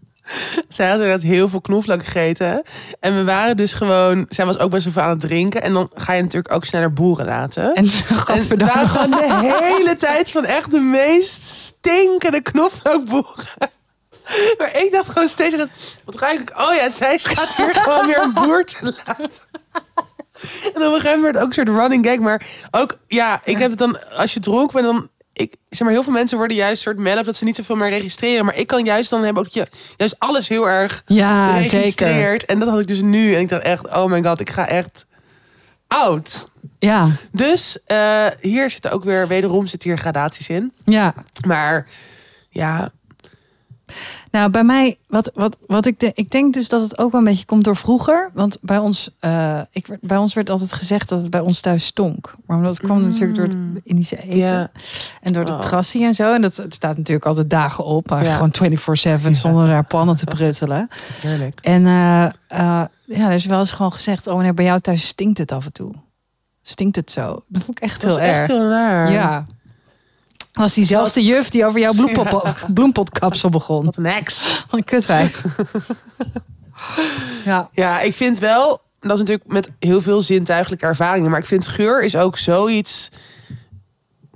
Zij had inderdaad heel veel knoflook gegeten. En we waren dus gewoon... Zij was ook best wel veel aan het drinken. En dan ga je natuurlijk ook sneller boeren laten. En En we gadverdamme. waren gewoon de hele tijd van echt de meest stinkende knoflookboeren. Maar ik dacht gewoon steeds, echt, wat ruik ik? Oh ja, zij staat hier gewoon weer een boer te laten. En op een gegeven moment werd het ook een soort running gag. Maar ook, ja, ik heb het dan, als je dronken bent, dan... Ik, zeg maar, heel veel mensen worden juist soort mel dat ze niet zoveel meer registreren. Maar ik kan juist dan hebben ook dat je juist alles heel erg Ja, zeker. registreert. En dat had ik dus nu. En ik dacht echt, oh my god, ik ga echt oud. Ja, Dus eh, hier zitten ook weer, wederom zitten hier gradaties in. ja. Maar ja, Nou, bij mij, wat, wat, wat ik, de, ik denk dus dat het ook wel een beetje komt door vroeger. Want bij ons, eh, ik, werd- bij ons werd altijd gezegd dat het bij ons thuis stonk. Maar dat kwam natuurlijk door het Indische Mm. eten Ja. en door de Oh. trassie en zo. En dat het staat natuurlijk altijd dagen op. Maar Ja. gewoon 24-7 zonder daar pannen te pruttelen. heerlijk. En eh, eh, ja, er is wel eens gewoon gezegd, oh meneer, bij jou thuis stinkt het af en toe. Stinkt het zo? Dat vond ik echt Dat is heel erg. echt heel raar. Ja. Was diezelfde juf die over jouw bloempop, bloempotkapsel begon. Wat een heks. Wat een kutwijf. ja. Ja, ik vind wel, dat is natuurlijk met heel veel zintuigelijke ervaringen. Maar ik vind geur is ook zoiets,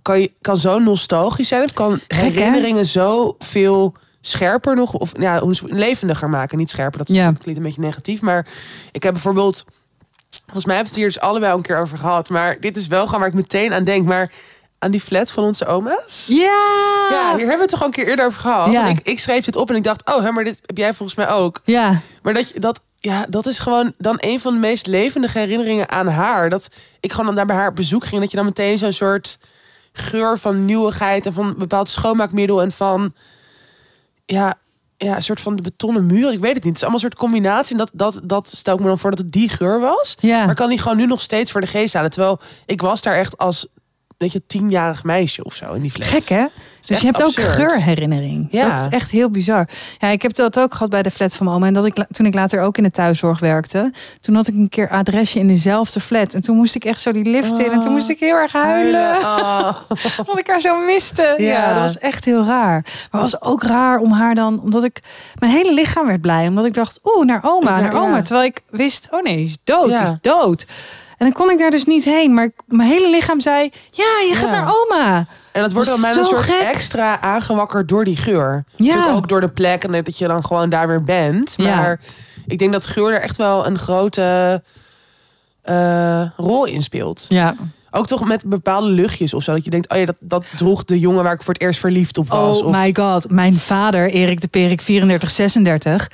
kan, je, kan zo nostalgisch zijn. Het kan hè? herinneringen zo veel scherper nog, of ja, hoe ze- levendiger maken. Niet scherper, dat, is- Ja. dat klinkt een beetje negatief. Maar ik heb bijvoorbeeld, volgens mij hebben we het hier dus allebei al een keer over gehad. Maar dit is wel gewoon waar ik meteen aan denk. Maar aan die flat van onze oma's. Ja. Ja, hier hebben we het toch al een keer eerder over gehad. Ja. Want Ik, ik schreef dit op en ik dacht, oh, hè, maar dit heb jij volgens mij ook. Ja. Maar dat, je- dat, ja, dat is gewoon dan een van de meest levendige herinneringen aan haar. Dat ik gewoon dan daar bij haar op bezoek ging. Dat je dan meteen zo'n soort geur van nieuwigheid en van een bepaald schoonmaakmiddel en van, ja, ja, een soort van de betonnen muur. Ik weet het niet. Het is allemaal een soort combinatie. En dat, dat, dat stel ik me dan voor dat het die geur was. Ja. Maar ik kan die gewoon nu nog steeds voor de geest halen. Terwijl ik was daar echt als, weet je, tienjarig meisje of zo in die flat. Gek hè? Dus echt je hebt absurd. ook geurherinnering. Ja. Dat is echt heel bizar. Ja, ik heb dat ook gehad bij de flat van mijn oma. En dat ik, la- toen ik later ook in de thuiszorg werkte. Toen had ik een keer adresje in dezelfde flat. En toen moest ik echt zo die lift in. En toen moest ik heel erg huilen. Oh. Omdat ik haar zo miste. Ja. Ja. dat was echt heel raar. Maar het was ook raar om haar dan... Omdat ik... Mijn hele lichaam werd blij. Omdat ik dacht, oeh, naar oma, Ja, naar ja. oma. Terwijl ik wist, oh nee, die is dood, Ja. die is dood. En dan kon ik daar dus niet heen. Maar ik- mijn hele lichaam zei, ja, je gaat Ja. naar oma. En dat wordt dan Dat is bijna een zo soort gek. extra aangewakkerd door die geur. Ja. Natuurlijk ook door de plek en dat je dan gewoon daar weer bent. Ja. Maar ik denk dat geur er echt wel een grote eh, rol in speelt. Ja. Ook toch met bepaalde luchtjes of zo. Dat je denkt, oh ja, dat, dat droeg de jongen waar ik voor het eerst verliefd op was. Oh of, my god, mijn vader, Erik de Perik, 3436...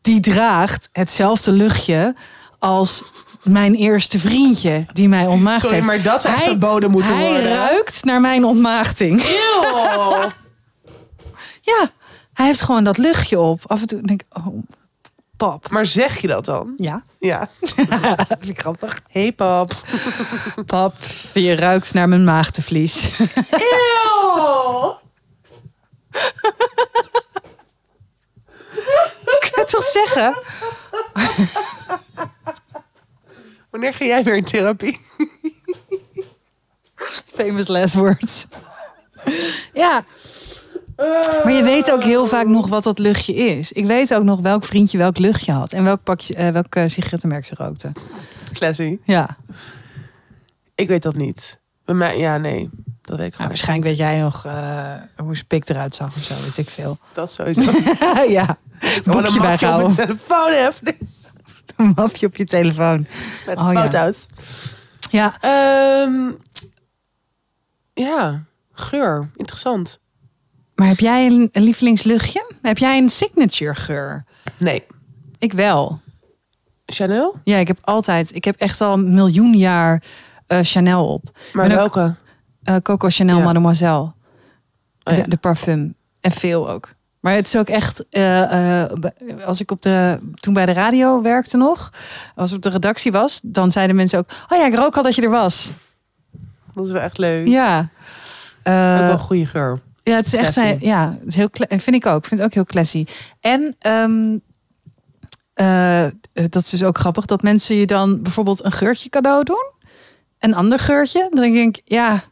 die draagt hetzelfde luchtje als mijn eerste vriendje die mij ontmaagd sorry, heeft. maar dat zou echt Hij- verboden moeten hij worden. ruikt naar mijn ontmaagding. Eeuw. Ja, hij heeft gewoon dat luchtje op. Af en toe denk ik, oh, pap. maar zeg je dat dan? Ja, Ja. dat vind ik grappig. hey, pap. Pap, je ruikt naar mijn maagdevlies. Eeuw. Ik kan het toch zeggen? Wanneer ga jij weer in therapie? Famous last words. Ja. Maar je weet ook heel vaak nog wat dat luchtje is. Ik weet ook nog welk vriendje welk luchtje had. En welk, pakje, eh, welk eh, sigarettenmerk ze rookte. Nou, Classy. Ja, Ik weet dat niet. Bij mij, ja, nee. Dat weet ik Nou, gewoon echt waarschijnlijk weet jij nog eh, hoe zijn pik eruit zag of zo. Weet ik veel. Oh, Dat sowieso. ja, Gewoon een boekje mapje op mijn bijgehouden. telefoon heb. Met Een mapje op je telefoon. Oh, ja. foto's. Ja, Ehm, ja, geur. Interessant. Maar heb jij een, een lievelingsluchtje? Heb jij een signature geur? Nee. Ik wel. Chanel? Ja, ik heb altijd. Ik heb echt al een miljoen jaar eh, Chanel op. Maar ben ook- welke? Eh, Coco Chanel Ja. Mademoiselle. Oh ja. de, de parfum. En veel ook. Maar het is ook echt, eh, eh, b- als ik op de, toen bij de radio werkte nog, als ik op de redactie was, dan zeiden mensen ook, oh ja, ik rook al dat je er was. Dat is wel echt leuk. Ja. Eh, Ook wel een goede geur. ja, het is echt, Classy. eh, ja, het is heel, cla- vind ik ook. Ik vind het ook heel classy. En ehm, eh, dat is dus ook grappig, dat mensen je dan bijvoorbeeld een geurtje cadeau doen. Een ander geurtje. Dan denk ik, ja,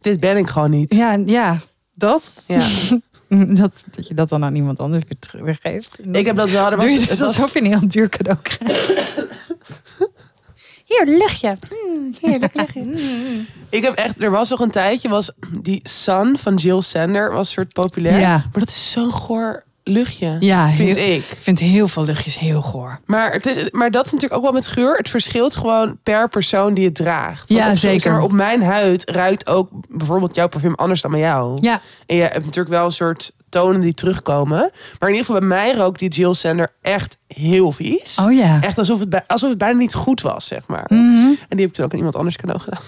Dit ben ik gewoon niet. Ja, ja, dat. Ja. dat. Dat je dat dan aan iemand anders weer terug- weer geeft. Ik heb dat wel. Er Doe was, je dus het was- alsof je een heel duur cadeau krijgt. Hier, luchtje. heerlijk luchtje. ik heb echt, er was nog een tijdje, was die Sun van Jill Sander was soort populair. Ja. Maar dat is zo'n goor luchtje. Ja, vind heel- ik. Ik vind heel veel luchtjes heel goor. Maar, het is, maar dat is natuurlijk ook wel met geur. Het verschilt gewoon per persoon die het draagt. Ja, op, zeker. maar op mijn huid ruikt ook bijvoorbeeld jouw parfum anders dan bij jou. Ja, En je hebt natuurlijk wel een soort tonen die terugkomen. Maar in ieder geval bij mij rookt die Jill Sander echt heel vies. oh ja. Dus Echt alsof het, bij- alsof het bijna niet goed was, zeg maar. Mhm. En die heb ik toen ook aan iemand anders cadeau gedaan.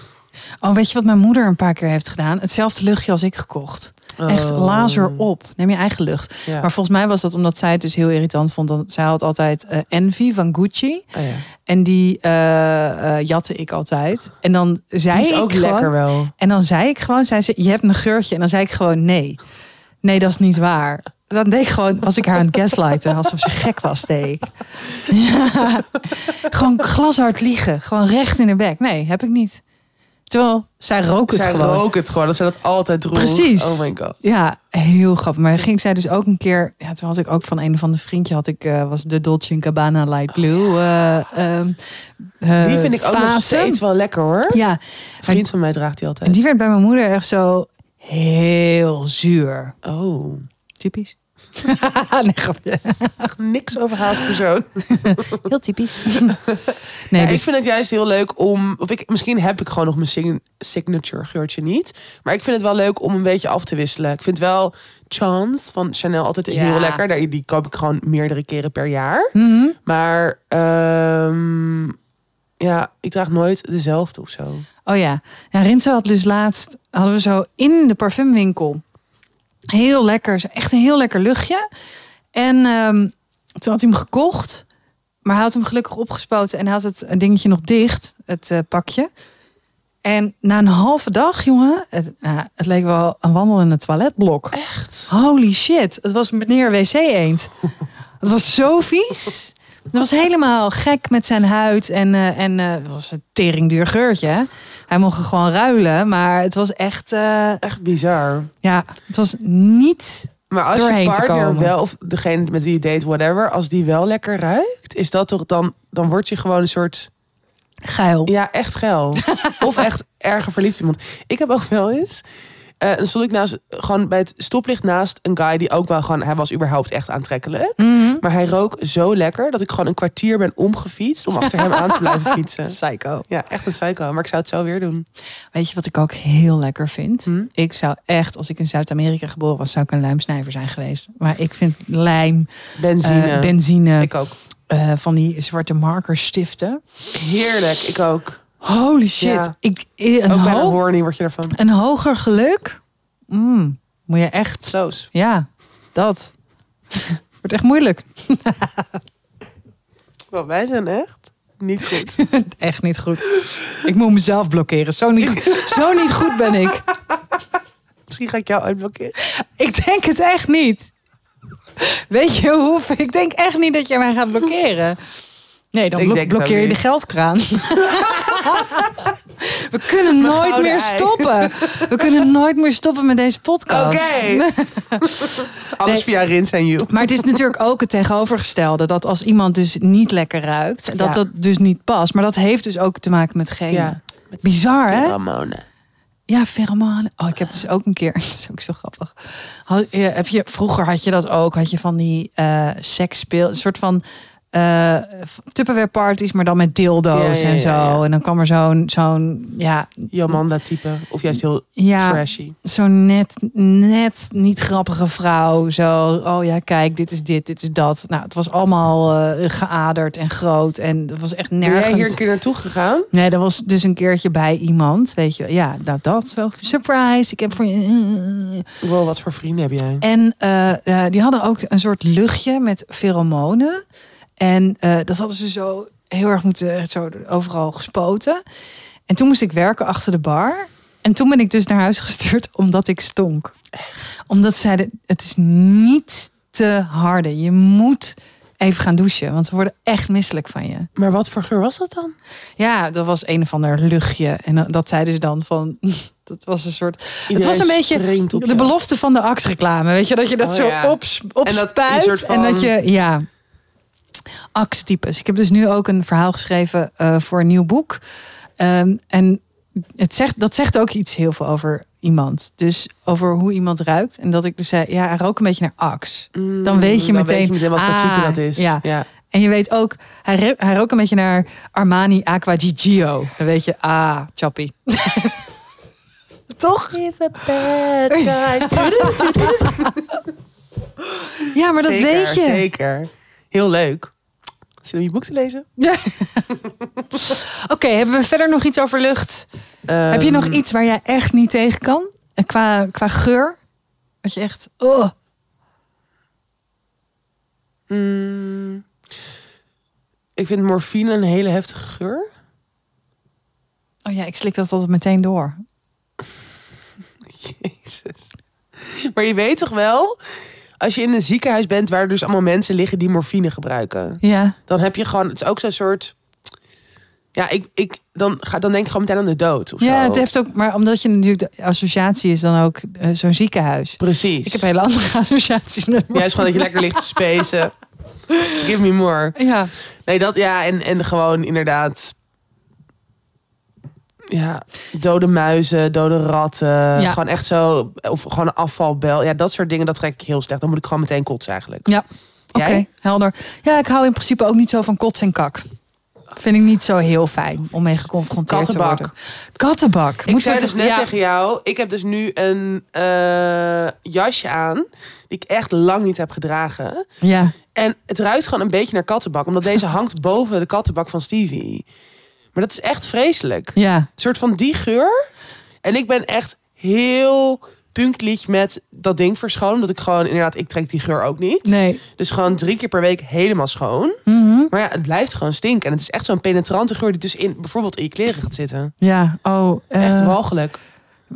Oh, weet je wat mijn moeder een paar keer heeft gedaan? Hetzelfde luchtje als ik gekocht. Echt Oh. laser op. Neem je eigen lucht. Ja. Maar volgens mij was dat omdat zij het dus heel irritant vond. Dat zij had altijd eh, Envy van Gucci. Oh ja. En die eh, eh, jatte ik altijd. En dan zei Die is ik ook gewoon, lekker wel. En dan zei ik gewoon, zei ze, je hebt mijn geurtje. En dan zei ik gewoon, nee. Nee, dat is niet waar. Dan deed ik gewoon, was ik haar aan het gaslighten. Alsof ze gek was, deed ik. Ja. Gewoon glashard liegen. Gewoon recht in de bek. Nee, heb ik niet. Terwijl, zij rook het Zij gewoon. roken het gewoon, dat ze dat altijd roept. Precies. Oh my god. Ja, heel grappig. Maar ging zij dus ook een keer... Ja, toen had ik ook van een van de vriendje... Had ik, eh, was de Dolce Gabbana Light Blue. eh, ehm, eh, Die vind ik ook nog fase. steeds wel lekker hoor. Ja, Een vriend van mij draagt die en altijd. die werd bij mijn moeder echt zo heel zuur. Oh, Typisch. nee, grapje. echt niks over haast persoon. Heel typisch. Nee, Ja, dus, Ik vind het juist heel leuk om. Of ik, misschien heb ik gewoon nog mijn sign- signature geurtje niet. Maar ik vind het wel leuk om een beetje af te wisselen. Ik vind wel Chance van Chanel altijd heel Ja. lekker. Daar- Die koop ik gewoon meerdere keren per jaar. Mhm. Maar ehm, ja, ik draag nooit dezelfde of zo. Oh ja. ja, Rinse had dus laatst, hadden we zo in de parfumwinkel. Heel lekker, echt een heel lekker luchtje. En ehm, toen had hij hem gekocht, maar hij had hem gelukkig opgespoten en hij had het eh, dingetje nog dicht, het eh, pakje. En na een halve dag, jongen, het, nou, het leek wel een wandel in het toiletblok. Echt? Holy shit, het was meneer WC Eend. Het was zo vies. Het was helemaal gek met zijn huid. En, eh, en eh, het was een teringduur geurtje. hè. Hij mocht gewoon ruilen, maar het was echt... eh, Echt bizar. ja, het was niet... Maar als je Doorheen te partner komen. wel, of degene met wie je date, whatever, als die wel lekker ruikt, is dat toch dan, dan word je gewoon een soort. Geil. Ja, echt geil. of echt erger verliefd op iemand. Ik heb ook wel eens. eh, dan stond ik naast, gewoon bij het stoplicht naast een guy die ook wel gewoon, hij was überhaupt echt aantrekkelijk. Mhm. Maar hij rook zo lekker dat ik gewoon een kwartier ben omgefietst om achter hem aan te blijven fietsen. Psycho. Ja, echt een psycho, maar ik zou het zo weer doen. Weet je wat ik ook heel lekker vind? Hm? Ik zou echt, als ik in Zuid-Amerika geboren was, zou ik een lijmsnijver zijn geweest. Maar ik vind lijm, Benzine. eh, benzine, Ik ook. eh, van die zwarte markers stiften. Heerlijk, ik ook. Holy shit. Ja. Ik, eh, een ook bijna hoop- horny word je daarvan. Een hoger geluk? Mm, moet je echt. Sloos. Ja, dat. Wordt echt moeilijk. Wel, wij zijn echt niet goed. Echt niet goed. Ik moet mezelf blokkeren. Zo niet, zo niet goed ben ik. Misschien ga ik jou uitblokkeren. Ik denk het echt niet. Weet je hoe? Ik denk echt niet dat jij mij gaat blokkeren. Nee, dan Ik blok- denk het ook blokkeer je de niet. geldkraan. We kunnen Mijn nooit gouden meer ei. stoppen. We kunnen nooit meer stoppen met deze podcast. Oké. Alles Nee. via Rins en You. Maar het is natuurlijk ook het tegenovergestelde. Dat als iemand dus niet lekker ruikt, dat Ja. dat dus niet past. Maar dat heeft dus ook te maken met genen. Ja. Bizar, hè? Ramona. Ja, pheromonen. Oh, ik heb dus ook een keer, dat is ook zo grappig. Had, eh, heb je, vroeger had je dat ook, had je van die eh, sekspeel, een soort van eh, eh Tupperware parties, maar dan met Ja, dildo's ja, en ja, zo. ja. En dan kwam er zo'n, zo'n ja, Jamanda-type. Of juist heel ja trashy. zo'n net, net niet grappige vrouw. Zo, oh ja, kijk, dit is dit, dit is dat. Nou, het was allemaal eh, geaderd en groot. En het was echt Ben jij hier nergens. een keer naartoe gegaan? Nee, dat was dus een keertje bij iemand, weet je. wel. Ja, dat, dat. Zo, surprise, ik heb voor je... Wow, wat voor vrienden heb jij? En eh, eh, die hadden ook een soort luchtje met pheromonen. En eh, dat hadden ze zo heel erg moeten, echt zo overal gespoten. En toen moest ik werken achter de bar. En toen ben ik dus naar huis gestuurd omdat ik stonk. Omdat ze zeiden, het is niet te harde. Je moet even gaan douchen, want we worden echt misselijk van je. Maar wat voor geur was dat dan? Ja, dat was een of ander luchtje. En dat- dat zeiden ze dan van, dat was een soort was een beetje springt op de je. belofte van de Axe-reclame. Weet je, dat je dat Oh, zo ja. ops, opspuit. dat En een dat, soort van- je, ja. Axe-types. Ik heb dus nu ook een verhaal geschreven eh, voor een nieuw boek. Ehm, en het zegt, dat zegt ook iets heel veel over iemand. Dus over hoe iemand ruikt. En dat ik dus zei, ja, hij rookt een beetje naar Axe. Mm, Dan weet je meteen, wat voor type ah, dat is. ja. ja. En je weet ook, hij, re- hij rookt een beetje naar Armani Aqua di Gio. Dan weet je, ah, chappie. Toch? He's a bad guy. Ja, maar dat Zeker, weet je. Zeker. Heel leuk. Zit om je boek te lezen? Oké, hebben we verder nog iets over lucht? Heb je nog Ehm, iets waar jij echt niet tegen kan? En Qua, qua geur? Wat je echt... Oh. mm, ik vind morfine een hele heftige geur. oh ja, ik slik dat altijd meteen door. Jezus. Maar je weet toch wel, als je in een ziekenhuis bent waar dus allemaal mensen liggen die morfine gebruiken, Ja. dan heb je gewoon, het is ook zo'n soort. Ja, ik, ik, dan, ga, dan denk ik gewoon meteen aan de dood. Of Ja, zo. het heeft ook... Maar omdat je natuurlijk de associatie is dan ook eh, zo'n ziekenhuis. Precies. Ik heb hele andere associaties met Juist gewoon dat je lekker ligt te spacen. Give me more. Ja. Nee, dat ja, en, en gewoon inderdaad. Ja, dode muizen, dode ratten. Gewoon echt zo. Of gewoon een afvalbel. Ja, dat soort dingen, dat trek ik heel slecht. Dan moet ik gewoon meteen kotsen eigenlijk. Ja. Oké, Jij? helder. Ja, ik hou in principe ook niet zo van kots en kak. Vind ik niet zo heel fijn om mee geconfronteerd Kattenbak. te worden. Kattenbak. Ik Moeten zei we dus toch- net ja. tegen jou, ik heb dus nu een eh, jasje aan. Die ik echt lang niet heb gedragen. Ja. En het ruikt gewoon een beetje naar kattenbak. Omdat deze hangt boven de kattenbak van Stevie. Maar dat is echt vreselijk. Ja. Een soort van die geur. En ik ben echt heel punktlieg met dat ding verschoon. Omdat ik gewoon, inderdaad, ik trek die geur ook niet. Nee. Dus gewoon drie keer per week helemaal schoon. Mhm. Maar ja, het blijft gewoon stinken. En het is echt zo'n penetrante geur die dus in, bijvoorbeeld in je kleren gaat zitten. Ja. Oh. Echt eh, walgelijk.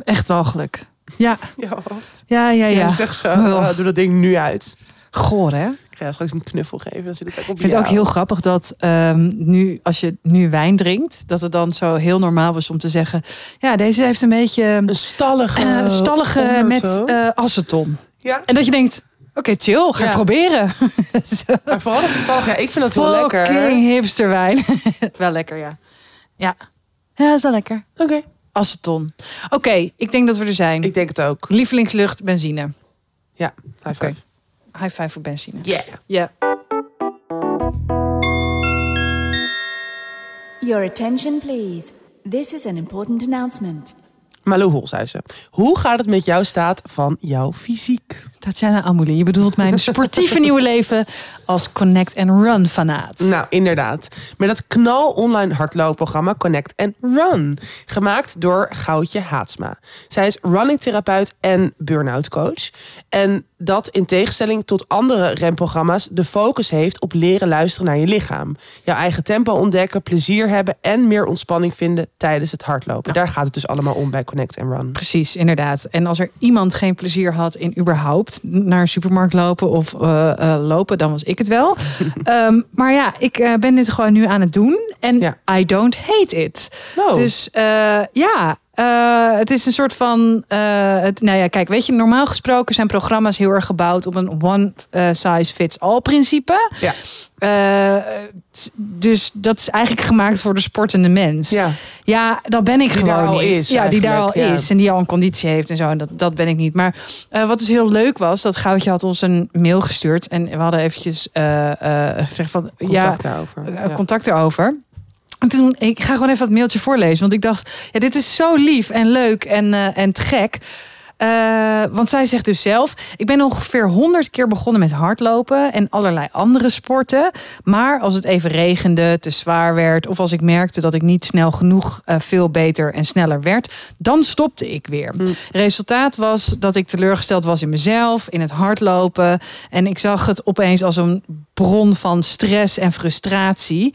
Echt walgelijk. Ja, Ja, hoofd. ja, ja, Ja, ja. is echt zo. Oh. Oh, doe dat ding nu uit. Goor, hè? Ik ga jou straks een knuffel geven. Dan zit het ook op Ik vind het jou. ook heel grappig dat ehm, nu, als je nu wijn drinkt, dat het dan zo heel normaal was om te zeggen: Ja, deze heeft een beetje Een stallige... eh, stallige met ondertoon. eh, aceton. ja, En dat je denkt: Oké, chill, ga Ja. ik proberen. Zo, maar vooral dat stallige. Ja, ik vind dat heel lekker. Fucking hipsterwijn. wel lekker, ja. Ja, ja, is wel lekker. Oké. Aceton. Oké, ik denk dat we er zijn. Ik denk het ook. Lievelingslucht, benzine. Ja, high five. Oké. High five voor benzine. Ja. Yeah. Your attention, please. This is an important announcement. Malou Holshuizen, hoe gaat het met jouw staat van jouw fysiek? Tatjana Amouli, je bedoelt mijn sportieve nieuwe leven als Connect and Run fanaat. Nou, inderdaad. Met het knal online hardloopprogramma Connect and Run. Gemaakt door Goudje Haatsma. Zij is running therapeut en burn-out coach. En dat in tegenstelling tot andere renprogramma's de focus heeft op leren luisteren naar je lichaam. Jouw eigen tempo ontdekken, plezier hebben en meer ontspanning vinden tijdens het hardlopen. Daar gaat het dus allemaal om bij Connect and Run. Precies, inderdaad. En als er iemand geen plezier had in überhaupt naar een supermarkt lopen of eh, eh, lopen, dan was ik het wel. Ehm, maar ja, ik eh, ben dit gewoon nu aan het doen en Ja. I don't hate it. Nou, Dus eh, ja, Eh, het is een soort van. eh, het, nou ja, kijk, weet je, normaal gesproken zijn programma's heel erg gebouwd op een one eh, size fits all principe. Ja. Eh, t- dus dat is eigenlijk gemaakt voor de sportende mens. Ja. Ja, dat ben ik Die gewoon daar al niet. is ja, die daar al eigenlijk, ja. is en die al een conditie heeft en zo. En dat, dat ben ik niet. Maar eh, wat dus heel leuk was, dat Goudje had ons een mail gestuurd. En we hadden eventjes eh, eh, gezegd van... ja, Contact daarover. eh, Ja. contact erover. En toen, ik ga gewoon even dat mailtje voorlezen. Want ik dacht, ja, dit is zo lief en leuk en, eh, en te gek. Eh, want zij zegt dus zelf: Ik ben ongeveer 100 keer begonnen met hardlopen en allerlei andere sporten. Maar als het even regende, te zwaar werd, of als ik merkte dat ik niet snel genoeg eh, veel beter en sneller werd, dan stopte ik weer. Resultaat was dat ik teleurgesteld was in mezelf, in het hardlopen. En ik zag het opeens als een bron van stress en frustratie.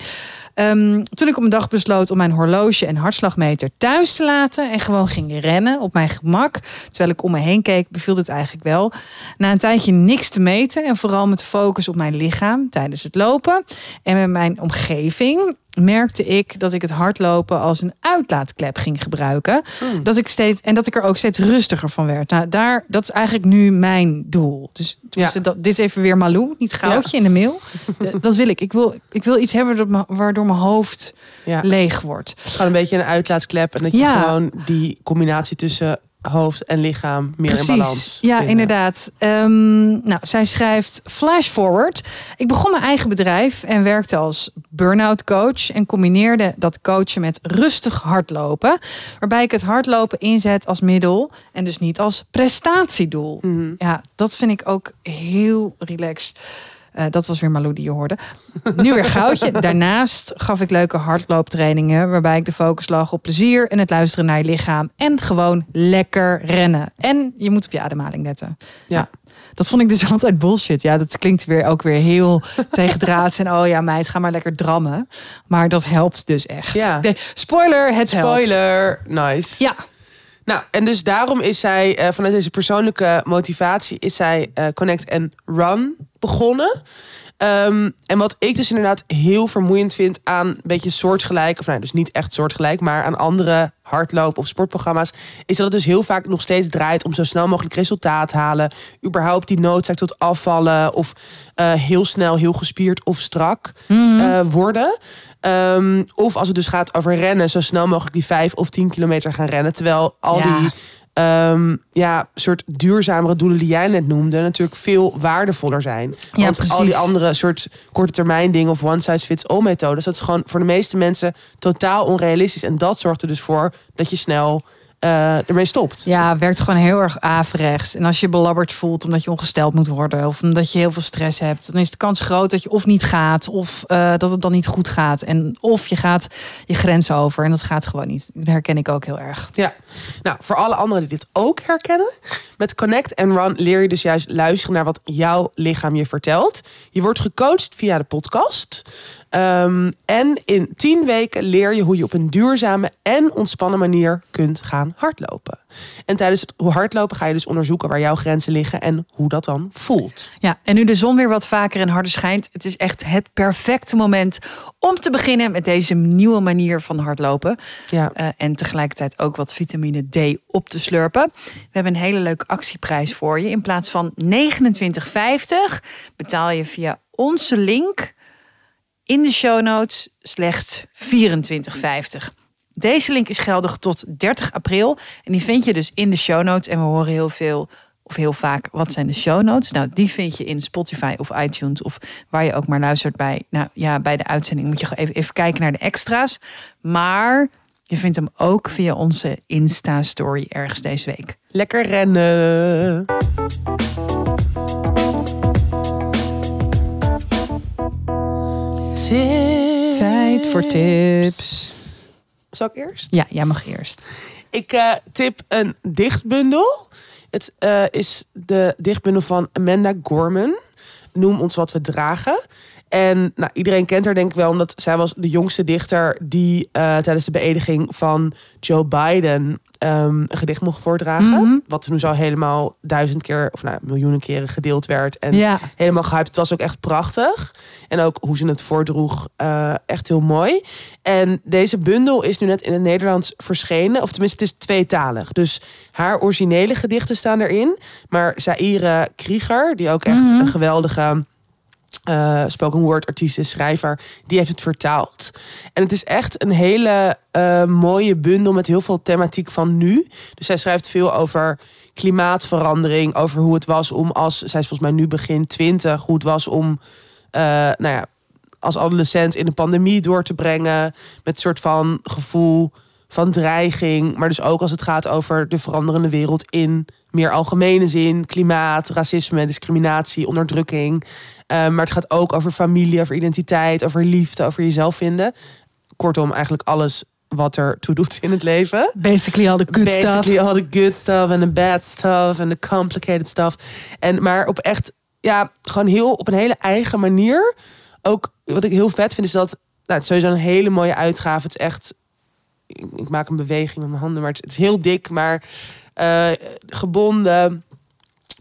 Ehm, toen ik op een dag besloot om mijn horloge en hartslagmeter thuis te laten en gewoon ging rennen op mijn gemak, terwijl ik om me heen keek, beviel dit eigenlijk wel. Na een tijdje niks te meten en vooral met de focus op mijn lichaam tijdens het lopen en met mijn omgeving, merkte ik dat ik het hardlopen als een uitlaatklep ging gebruiken. Hmm. Dat ik steeds, en dat ik er ook steeds rustiger van werd. Nou, daar, dat is eigenlijk nu mijn doel. Dus tenminste, dat, dit is even weer Malou, niet goudje in de mail. D- dat wil ik. Ik wil, ik wil iets hebben dat me- waardoor mijn hoofd Ja. leeg wordt. Het is gewoon een beetje een uitlaatklep. En dat je Ja. gewoon die combinatie tussen hoofd en lichaam meer in balans. Ja, vinden. inderdaad. Ehm, nou, zij schrijft flash forward. Ik begon mijn eigen bedrijf en werkte als burn-out coach en combineerde dat coachen met rustig hardlopen, waarbij ik het hardlopen inzet als middel en dus niet als prestatiedoel. Mhm. Ja, dat vind ik ook heel relaxed. Eh, dat was weer Malou die je hoorde. Nu weer goudje. Daarnaast gaf ik leuke hardlooptrainingen. Waarbij ik de focus lag op plezier en het luisteren naar je lichaam. En gewoon lekker rennen. En je moet op je ademhaling letten. Nou, Ja. dat vond ik dus altijd bullshit. Ja, dat klinkt weer ook weer heel tegendraads. En oh ja, meid, ga maar lekker drammen. Maar dat helpt dus echt. Ja. Nee, spoiler, het helpt. Spoiler. Nice. Ja, Nou, en dus daarom is zij eh, vanuit deze persoonlijke motivatie is zij eh, Connect and Run begonnen. Ehm, en wat ik dus inderdaad heel vermoeiend vind aan een beetje soortgelijk, of nou dus niet echt soortgelijk, maar aan andere hardloop- of sportprogramma's, is dat het dus heel vaak nog steeds draait om zo snel mogelijk resultaat halen, überhaupt die noodzaak tot afvallen of eh, heel snel heel gespierd of strak Mhm. eh, worden. Ehm, of als het dus gaat over rennen, zo snel mogelijk die vijf of tien kilometer gaan rennen, terwijl al Ja. die ehm, ja, soort duurzamere doelen die jij net noemde, natuurlijk veel waardevoller zijn. Ja, Want al die precies. andere soort korte termijn dingen of one size fits all methodes, dat is gewoon voor de meeste mensen totaal onrealistisch. En dat zorgt er dus voor dat je snel eh, ermee stopt. Ja, werkt gewoon heel erg averechts. En als je belabberd voelt omdat je ongesteld moet worden of omdat je heel veel stress hebt, dan is de kans groot dat je of niet gaat of eh, dat het dan niet goed gaat. En of je gaat je grenzen over en dat gaat gewoon niet. Dat herken ik ook heel erg. Ja, nou voor alle anderen die dit ook herkennen. Met Connect and Run leer je dus juist luisteren naar wat jouw lichaam je vertelt. Je wordt gecoacht via de podcast. Ehm, en in tien weken leer je hoe je op een duurzame en ontspannen manier kunt gaan hardlopen. En tijdens het hardlopen ga je dus onderzoeken waar jouw grenzen liggen en hoe dat dan voelt. Ja, en nu de zon weer wat vaker en harder schijnt, het is echt het perfecte moment om te beginnen met deze nieuwe manier van hardlopen. Ja, Eh, en tegelijkertijd ook wat vitamine D op te slurpen. We hebben een hele leuke actieprijs voor je. In plaats van 29,50 betaal je via onze link in de show notes slechts 24,50. Deze link is geldig tot 30 april. En die vind je dus in de show notes. En we horen heel veel of heel vaak wat zijn de show notes. Nou, die vind je in Spotify of iTunes of waar je ook maar luistert bij. Nou ja, bij de uitzending moet je gewoon even, even kijken naar de extra's. Maar je vindt hem ook via onze Insta-story ergens deze week. lekker rennen. Tijd voor tips. Zal ik eerst? Ja, jij mag eerst. Ik eh, tip een dichtbundel. Het eh, is de dichtbundel van Amanda Gorman. Noem ons wat we dragen. En nou, iedereen kent haar denk ik wel, omdat zij was de jongste dichter die eh, tijdens de beëdiging van Joe Biden ehm, een gedicht mocht voordragen. Mhm. Wat toen zo helemaal duizend keer, of nou, miljoenen keren gedeeld werd. En ja. helemaal gehyped. Het was ook echt prachtig. En ook hoe ze het voordroeg, eh, echt heel mooi. En deze bundel is nu net in het Nederlands verschenen. Of tenminste, het is tweetalig. Dus haar originele gedichten staan erin. Maar Zaire Krieger, die ook echt Mhm. een geweldige... eh, spoken word artiest is, schrijver, die heeft het vertaald. En het is echt een hele eh, mooie bundel met heel veel thematiek van nu. Dus zij schrijft veel over klimaatverandering, over hoe het was om als, zij is volgens mij nu begin 20, hoe het was om, eh, nou ja, als adolescent in de pandemie door te brengen. Met een soort van gevoel van dreiging. Maar dus ook als het gaat over de veranderende wereld in meer algemene zin. Klimaat, racisme, discriminatie, onderdrukking. Eh, maar het gaat ook over familie, over identiteit, over liefde, over jezelf vinden. Kortom, eigenlijk alles wat er toe doet in het leven. Basically al de good stuff. Basically all the good stuff en the bad stuff en the complicated stuff. En maar op echt, ja, gewoon heel op een hele eigen manier. Ook wat ik heel vet vind is dat, nou, het is sowieso een hele mooie uitgave. Het is echt, ik, ik maak een beweging met mijn handen, maar het, het is heel dik, maar eh, gebonden.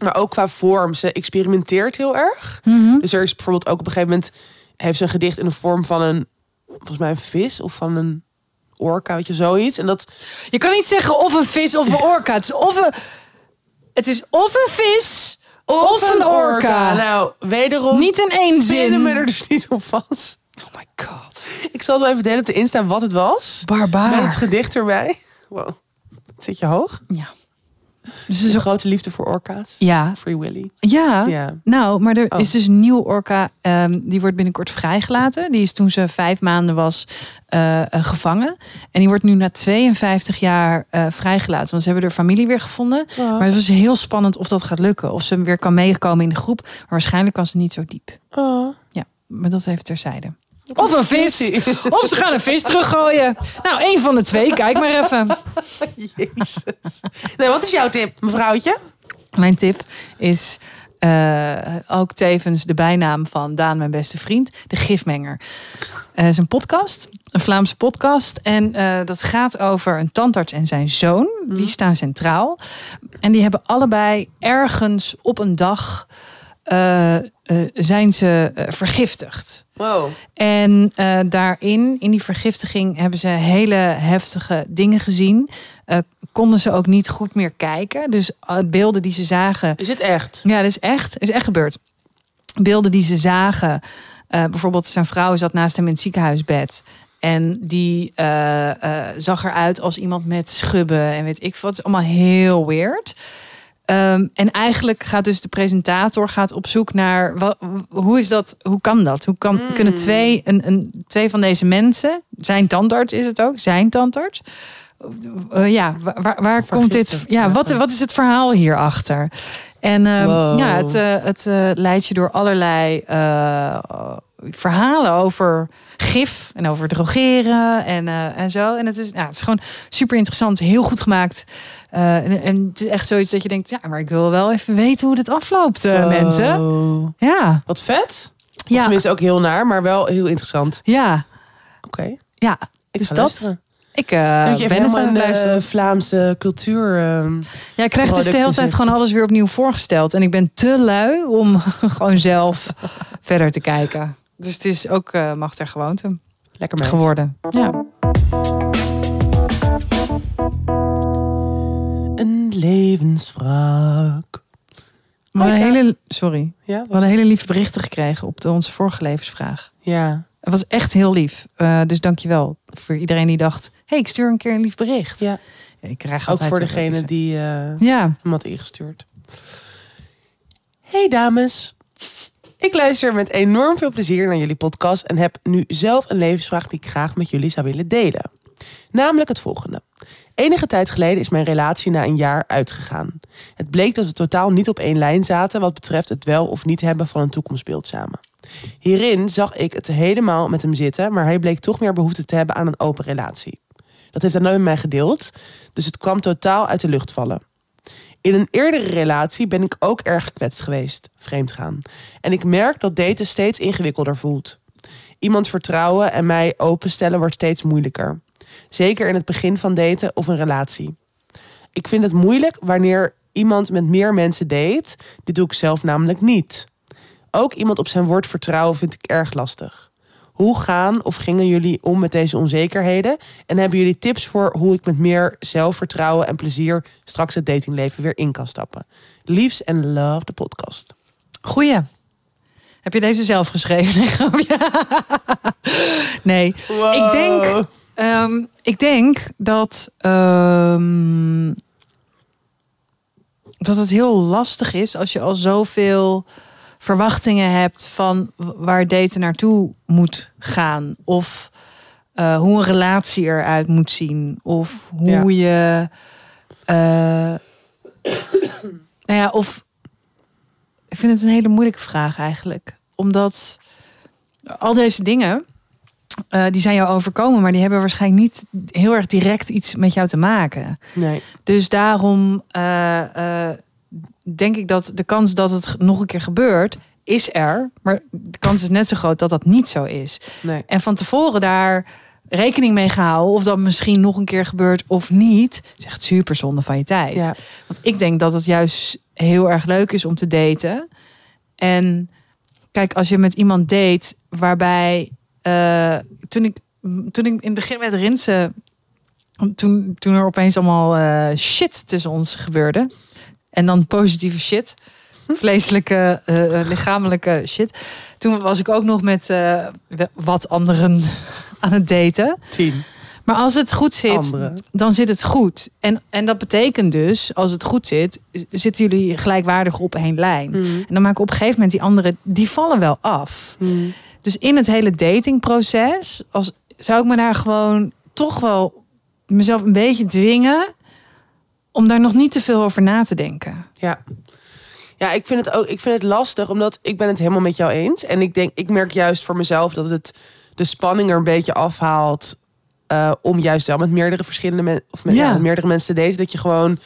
Maar ook qua vorm, ze experimenteert heel erg. Mhm. Dus er is bijvoorbeeld ook op een gegeven moment heeft ze een gedicht in de vorm van een, volgens mij een vis of van een orka, weet je, zoiets. En dat Je kan niet zeggen of een vis of een orka. Het is of een, het is of een vis of, een orka. Nou, wederom Niet in één zin zin. me er dus niet op vast. Oh my god. Ik zal het wel even delen op de Insta wat het was. Met het Barbaar. gedicht erbij. Wow. Zit je hoog? Ja. Dus is een grote liefde voor orka's. Ja. Free Willy. Ja. Ja. Nou, maar er Oh. is dus een nieuwe orka. ehm, die wordt binnenkort vrijgelaten. Die is toen ze vijf maanden was eh, eh, gevangen. En die wordt nu na 52 jaar eh, vrijgelaten. Want ze hebben er familie weer gevonden. Maar het was heel spannend of dat gaat lukken. Of ze hem weer kan meekomen in de groep. Maar waarschijnlijk kan ze niet zo diep. Oh. Maar dat even terzijde. Of een vis. Of ze gaan een vis teruggooien. Nou, één van de twee. Kijk maar even. Jezus. Nee, wat is jouw tip, mevrouwtje? Mijn tip is eh, ook tevens de bijnaam van Daan, mijn beste vriend, de Gifmenger. Het is een podcast, een Vlaamse podcast. En eh, dat gaat over een tandarts en zijn zoon. Die staan centraal. En die hebben allebei ergens op een dag eh, eh, zijn ze eh, vergiftigd. Wow. En eh, daarin, in die vergiftiging, hebben ze hele heftige dingen gezien. Eh, konden ze ook niet goed meer kijken. Dus eh, beelden die ze zagen. Is dit echt? Ja, dat is echt, is echt gebeurd. Beelden die ze zagen. eh, bijvoorbeeld, zijn vrouw zat naast hem in het ziekenhuisbed. En die eh, eh, zag eruit als iemand met schubben en weet ik wat. Het is allemaal heel weird. Ehm, en eigenlijk gaat dus de presentator gaat op zoek naar wa- hoe is dat, hoe kan dat? Hoe kan, kunnen twee, een, een, twee van deze mensen, zijn tandarts is het ook, zijn tandarts. Eh, ja, wa- waar, waar komt dit? Vergiftigd, Ja, ja. wat, wat is het verhaal hierachter? En ehm, Wow. ja, het, eh, het eh, leidt je door allerlei eh, verhalen over gif en over drogeren en, eh, en zo. En het is, ja, het is gewoon super interessant, heel goed gemaakt. Eh, en, en het is echt zoiets dat je denkt, ja, maar ik wil wel even weten hoe dit afloopt, eh, mensen. Wow. Ja, Wat vet. Ja. ja, Tenminste, ook heel naar, maar wel heel interessant. ja, Oké. ja. Ik Dus ga dat? luisteren. Ik eh, Moet je even ben het helemaal aan in het de luisteren. Vlaamse cultuur. ehm, Ja, ik krijg dus de hele producten tijd zit. gewoon alles weer opnieuw voorgesteld. En ik ben te lui om gewoon zelf verder te kijken. Dus het is ook eh macht en gewoonte lekker mee. geworden. Ja. Een levensvraag. We hadden Hoi, een hele, sorry, Ja, we hadden hele lieve berichten gekregen op de, onze vorige levensvraag. ja. Het was echt heel lief. Eh dus dankjewel voor iedereen die dacht... hey, ik stuur een keer een lief bericht. Ja. Ik krijg ook altijd voor zo'n degene berichten. die eh, Ja, hem had ingestuurd. Hey dames. Ik luister met enorm veel plezier naar jullie podcast en heb nu zelf een levensvraag die ik graag met jullie zou willen delen. Namelijk het volgende. Enige tijd geleden is mijn relatie na een jaar uitgegaan. Het bleek dat we totaal niet op één lijn zaten wat betreft het wel of niet hebben van een toekomstbeeld samen. Hierin zag ik het helemaal met hem zitten, maar hij bleek toch meer behoefte te hebben aan een open relatie. Dat heeft hij nooit met mij gedeeld, dus het kwam totaal uit de lucht vallen. In een eerdere relatie ben ik ook erg gekwetst geweest, vreemd gaan. En ik merk dat daten steeds ingewikkelder voelt. Iemand vertrouwen en mij openstellen wordt steeds moeilijker. Zeker in het begin van daten of een relatie. ik vind het moeilijk wanneer iemand met meer mensen date. Dit doe ik zelf namelijk niet. Ook iemand op zijn woord vertrouwen vind ik erg lastig. Hoe gaan of gingen jullie om met deze onzekerheden? En hebben jullie tips voor hoe ik met meer zelfvertrouwen en plezier straks het datingleven weer in kan stappen? Liefs en love de podcast. Goeie. Heb je deze zelf geschreven? Nee, grapje. nee. Ik denk- Ehm, ik denk dat, ehm, dat het heel lastig is als je al zoveel verwachtingen hebt van w- waar daten naartoe moet gaan. Of eh, hoe een relatie eruit moet zien. Of hoe je. eh, nou ja, of. Ik vind het een hele moeilijke vraag eigenlijk. Omdat al deze dingen. eh, die zijn jou overkomen, maar die hebben waarschijnlijk niet heel erg direct iets met jou te maken. Nee. Dus daarom eh, eh, denk ik dat de kans dat het g- nog een keer gebeurt, is er. Maar de kans is net zo groot dat dat niet zo is. Nee. En van tevoren daar rekening mee gehouden of dat misschien nog een keer gebeurt of niet, is echt super zonde van je tijd. Ja. Want ik denk dat het juist heel erg leuk is om te daten. En kijk, als je met iemand date waarbij... eh, toen, ik, toen ik in het begin met Rinsen... Toen, toen er opeens allemaal eh, shit tussen ons gebeurde. En dan positieve shit. Vleeselijke, eh, eh, lichamelijke shit. Toen was ik ook nog met eh, we- wat anderen aan het daten. Tien. Maar als het goed zit, Anderen. dan zit het goed. En, en dat betekent dus, als het goed zit, z- zitten jullie gelijkwaardig op één lijn. Mm. En dan maken op een gegeven moment die anderen, die vallen wel af. Mm. Dus in het hele datingproces, als, zou ik me daar gewoon toch wel mezelf een beetje dwingen om daar nog niet te veel over na te denken. Ja. Ja, ik vind het ook. Ik vind het lastig, omdat ik ben het helemaal met jou eens. En ik denk, ik merk juist voor mezelf dat het de spanning er een beetje afhaalt. eh, om juist wel met meerdere verschillende mensen of met, Ja. ja, met meerdere mensen te daten. Dat je gewoon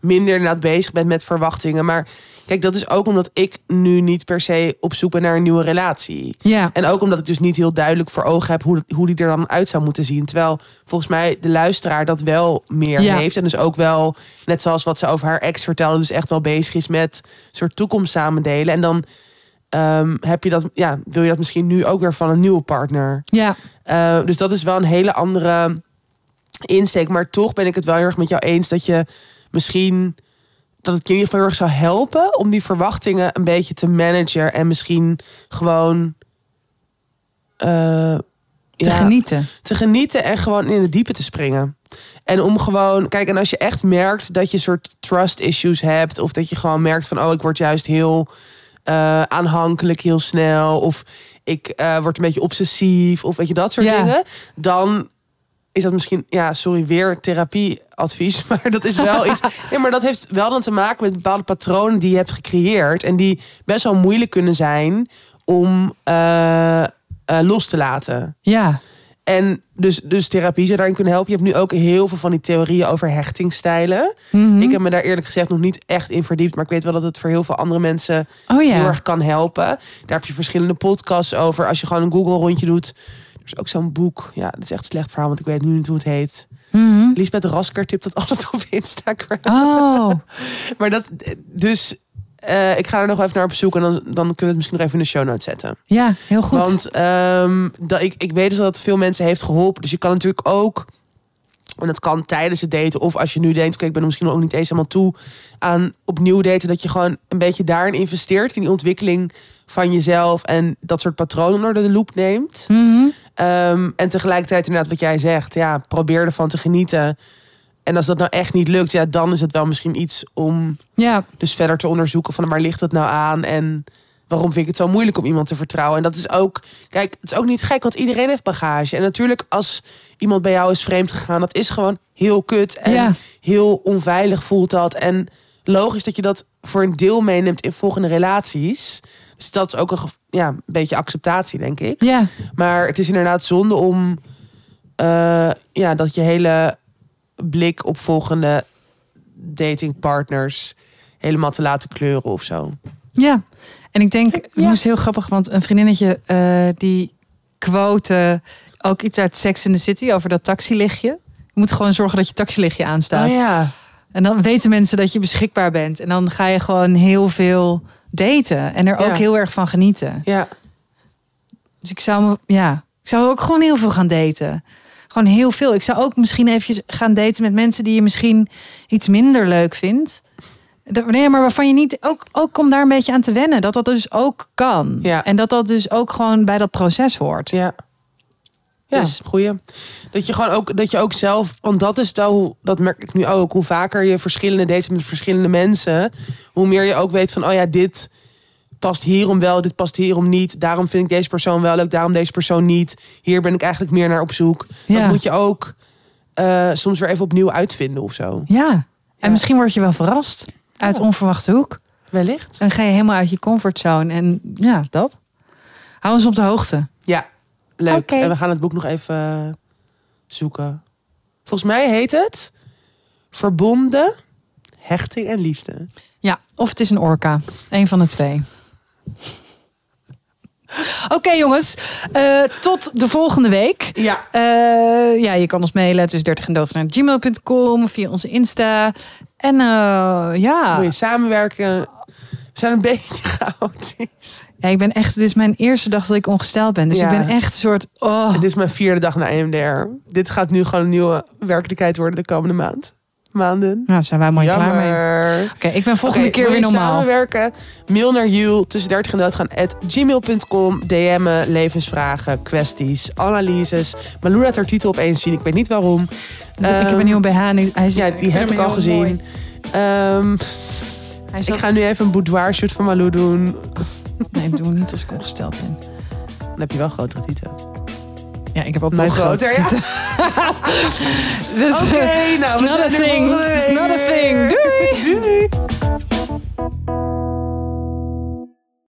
minder inderdaad bezig bent met verwachtingen. Maar kijk, dat is ook omdat ik nu niet per se op zoek ben naar een nieuwe relatie. Ja, En ook omdat ik dus niet heel duidelijk voor ogen heb hoe, hoe die er dan uit zou moeten zien. Terwijl volgens mij de luisteraar dat wel meer Ja. heeft. En dus ook wel, net zoals wat ze over haar ex vertelde, dus echt wel bezig is met soort toekomst samen delen. En dan ehm, heb je dat, ja, wil je dat misschien nu ook weer van een nieuwe partner. ja, Eh, dus dat is wel een hele andere insteek. Maar toch ben ik het wel heel erg met jou eens dat je misschien dat het je in ieder geval heel erg zou helpen om die verwachtingen een beetje te managen en misschien gewoon eh, te ja, genieten. te genieten en gewoon in het diepe te springen. En om gewoon, kijk, en als je echt merkt dat je soort trust issues hebt, of dat je gewoon merkt van, oh, ik word juist heel eh, aanhankelijk heel snel, of ik eh, word een beetje obsessief, of weet je dat soort Ja. dingen, dan is dat misschien, ja, sorry, weer therapieadvies, maar dat is wel iets. Nee, maar dat heeft wel dan te maken met bepaalde patronen die je hebt gecreëerd en die best wel moeilijk kunnen zijn om eh, eh, los te laten. Ja, En dus, dus therapie zou daarin kunnen helpen. Je hebt nu ook heel veel van die theorieën over hechtingstijlen. Mhm. Ik heb me daar eerlijk gezegd nog niet echt in verdiept. Maar ik weet wel dat het voor heel veel andere mensen oh heel ja. erg kan helpen. Daar heb je verschillende podcasts over. Als je gewoon een Google rondje doet. Er is ook zo'n boek. Ja, dat is echt een slecht verhaal, want ik weet nu niet hoe het heet. Mhm. Lisbeth Rasker tipt dat altijd op Instagram. Oh, Maar dat, dus eh, ik ga er nog wel even naar op zoek. En dan, dan kunnen we het misschien nog even in de show notes zetten. ja, heel goed. Want ehm, dat, ik, ik weet dus dat het veel mensen heeft geholpen. Dus je kan natuurlijk ook. En dat kan tijdens het daten. Of als je nu denkt, oké, ik ben er misschien ook niet eens helemaal toe aan opnieuw daten. Dat je gewoon een beetje daarin investeert. In die ontwikkeling van jezelf. En dat soort patronen onder de loep neemt. Mhm. Ehm, en tegelijkertijd inderdaad wat jij zegt. Ja, probeer ervan te genieten. En als dat nou echt niet lukt, ja, dan is het wel misschien iets om Ja, dus verder te onderzoeken van waar ligt het nou aan en waarom vind ik het zo moeilijk om iemand te vertrouwen. En dat is ook, kijk, het is ook niet gek, want iedereen heeft bagage. En natuurlijk, als iemand bij jou is vreemd gegaan, dat is gewoon heel kut en Ja. heel onveilig voelt dat. En logisch dat je dat voor een deel meeneemt in volgende relaties. Dus dat is ook een, ge- ja, een beetje acceptatie, denk ik. ja. Maar het is inderdaad zonde om eh, ja, dat je hele blik op volgende datingpartners helemaal te laten kleuren of zo. Ja, en ik denk, het moest heel grappig, want een vriendinnetje eh, die quote eh, ook iets uit Sex in the City over dat taxilichtje. Je moet gewoon zorgen dat je taxilichtje aanstaat. Oh, ja. En dan weten mensen dat je beschikbaar bent. En dan ga je gewoon heel veel daten. En er Ja. ook heel erg van genieten. Ja, Dus ik zou, me, ja, ik zou ook gewoon heel veel gaan daten. Gewoon heel veel. Ik zou ook misschien eventjes gaan daten met mensen die je misschien iets minder leuk vindt. Dat- Nee, maar waarvan je niet ook, ook om daar een beetje aan te wennen. Dat dat dus ook kan. Ja. En dat dat dus ook gewoon bij dat proces hoort. ja. Ja, Dus- goeie. Dat je gewoon ook, dat je ook zelf, want dat is wel, hoe, dat merk ik nu ook, hoe vaker je verschillende dates met verschillende mensen, hoe meer je ook weet van, oh ja, dit past hierom wel, dit past hierom niet, daarom vind ik deze persoon wel leuk, daarom deze persoon niet, hier ben ik eigenlijk meer naar op zoek. Ja. Dat moet je ook eh, soms weer even opnieuw uitvinden of zo. Ja. En Ja. misschien word je wel verrast uit onverwachte hoek. Wellicht. Dan ga je helemaal uit je comfortzone. En ja, dat. Hou ons op de hoogte. Ja, leuk. Oké. En we gaan het boek nog even eh, zoeken. Volgens mij heet het Verbonden, Hechting en Liefde. Ja, of het is een orka. Een van de twee. Oké jongens, eh, tot de volgende week. Ja. Eh, ja, je kan ons mailen tussen 30 en doods naar gmail.com, via onze Insta. En eh, ja. Wil Ah. je samenwerken? We zijn een beetje chaotisch. ja, ik ben echt, dit is mijn eerste dag dat ik ongesteld ben. Dus Ja. ik ben echt een soort, oh, Dit is mijn vierde dag E na EMDR. Dit gaat nu gewoon een nieuwe werkelijkheid worden de komende maand. Maanden. nou zijn wij mooi klaar mee. Oké, Jammer. ik ben volgende Oké, keer wil weer je normaal. samenwerken? Mail naar Jules tussen 30 en doodgaan at gmail.com. DM'en, levensvragen, kwesties, analyses. Malou laat haar titel opeens zien. Ik weet niet waarom. ik heb Ehm, een nieuwe BH. en hij- Hij is, Ja, die heb ik al heel gezien. mooi. Ehm, Hij ik zat, ga nu even een boudoir shoot van Malou doen. Nee, doe niet als ik ongesteld ben. Dan heb je wel grotere tieten. Ja, ik heb altijd Mijn nog grote groter, ja. tieten. dus, Oké, nou, we it's not zijn a er thing. volgende It's week not a thing. weer. Doei.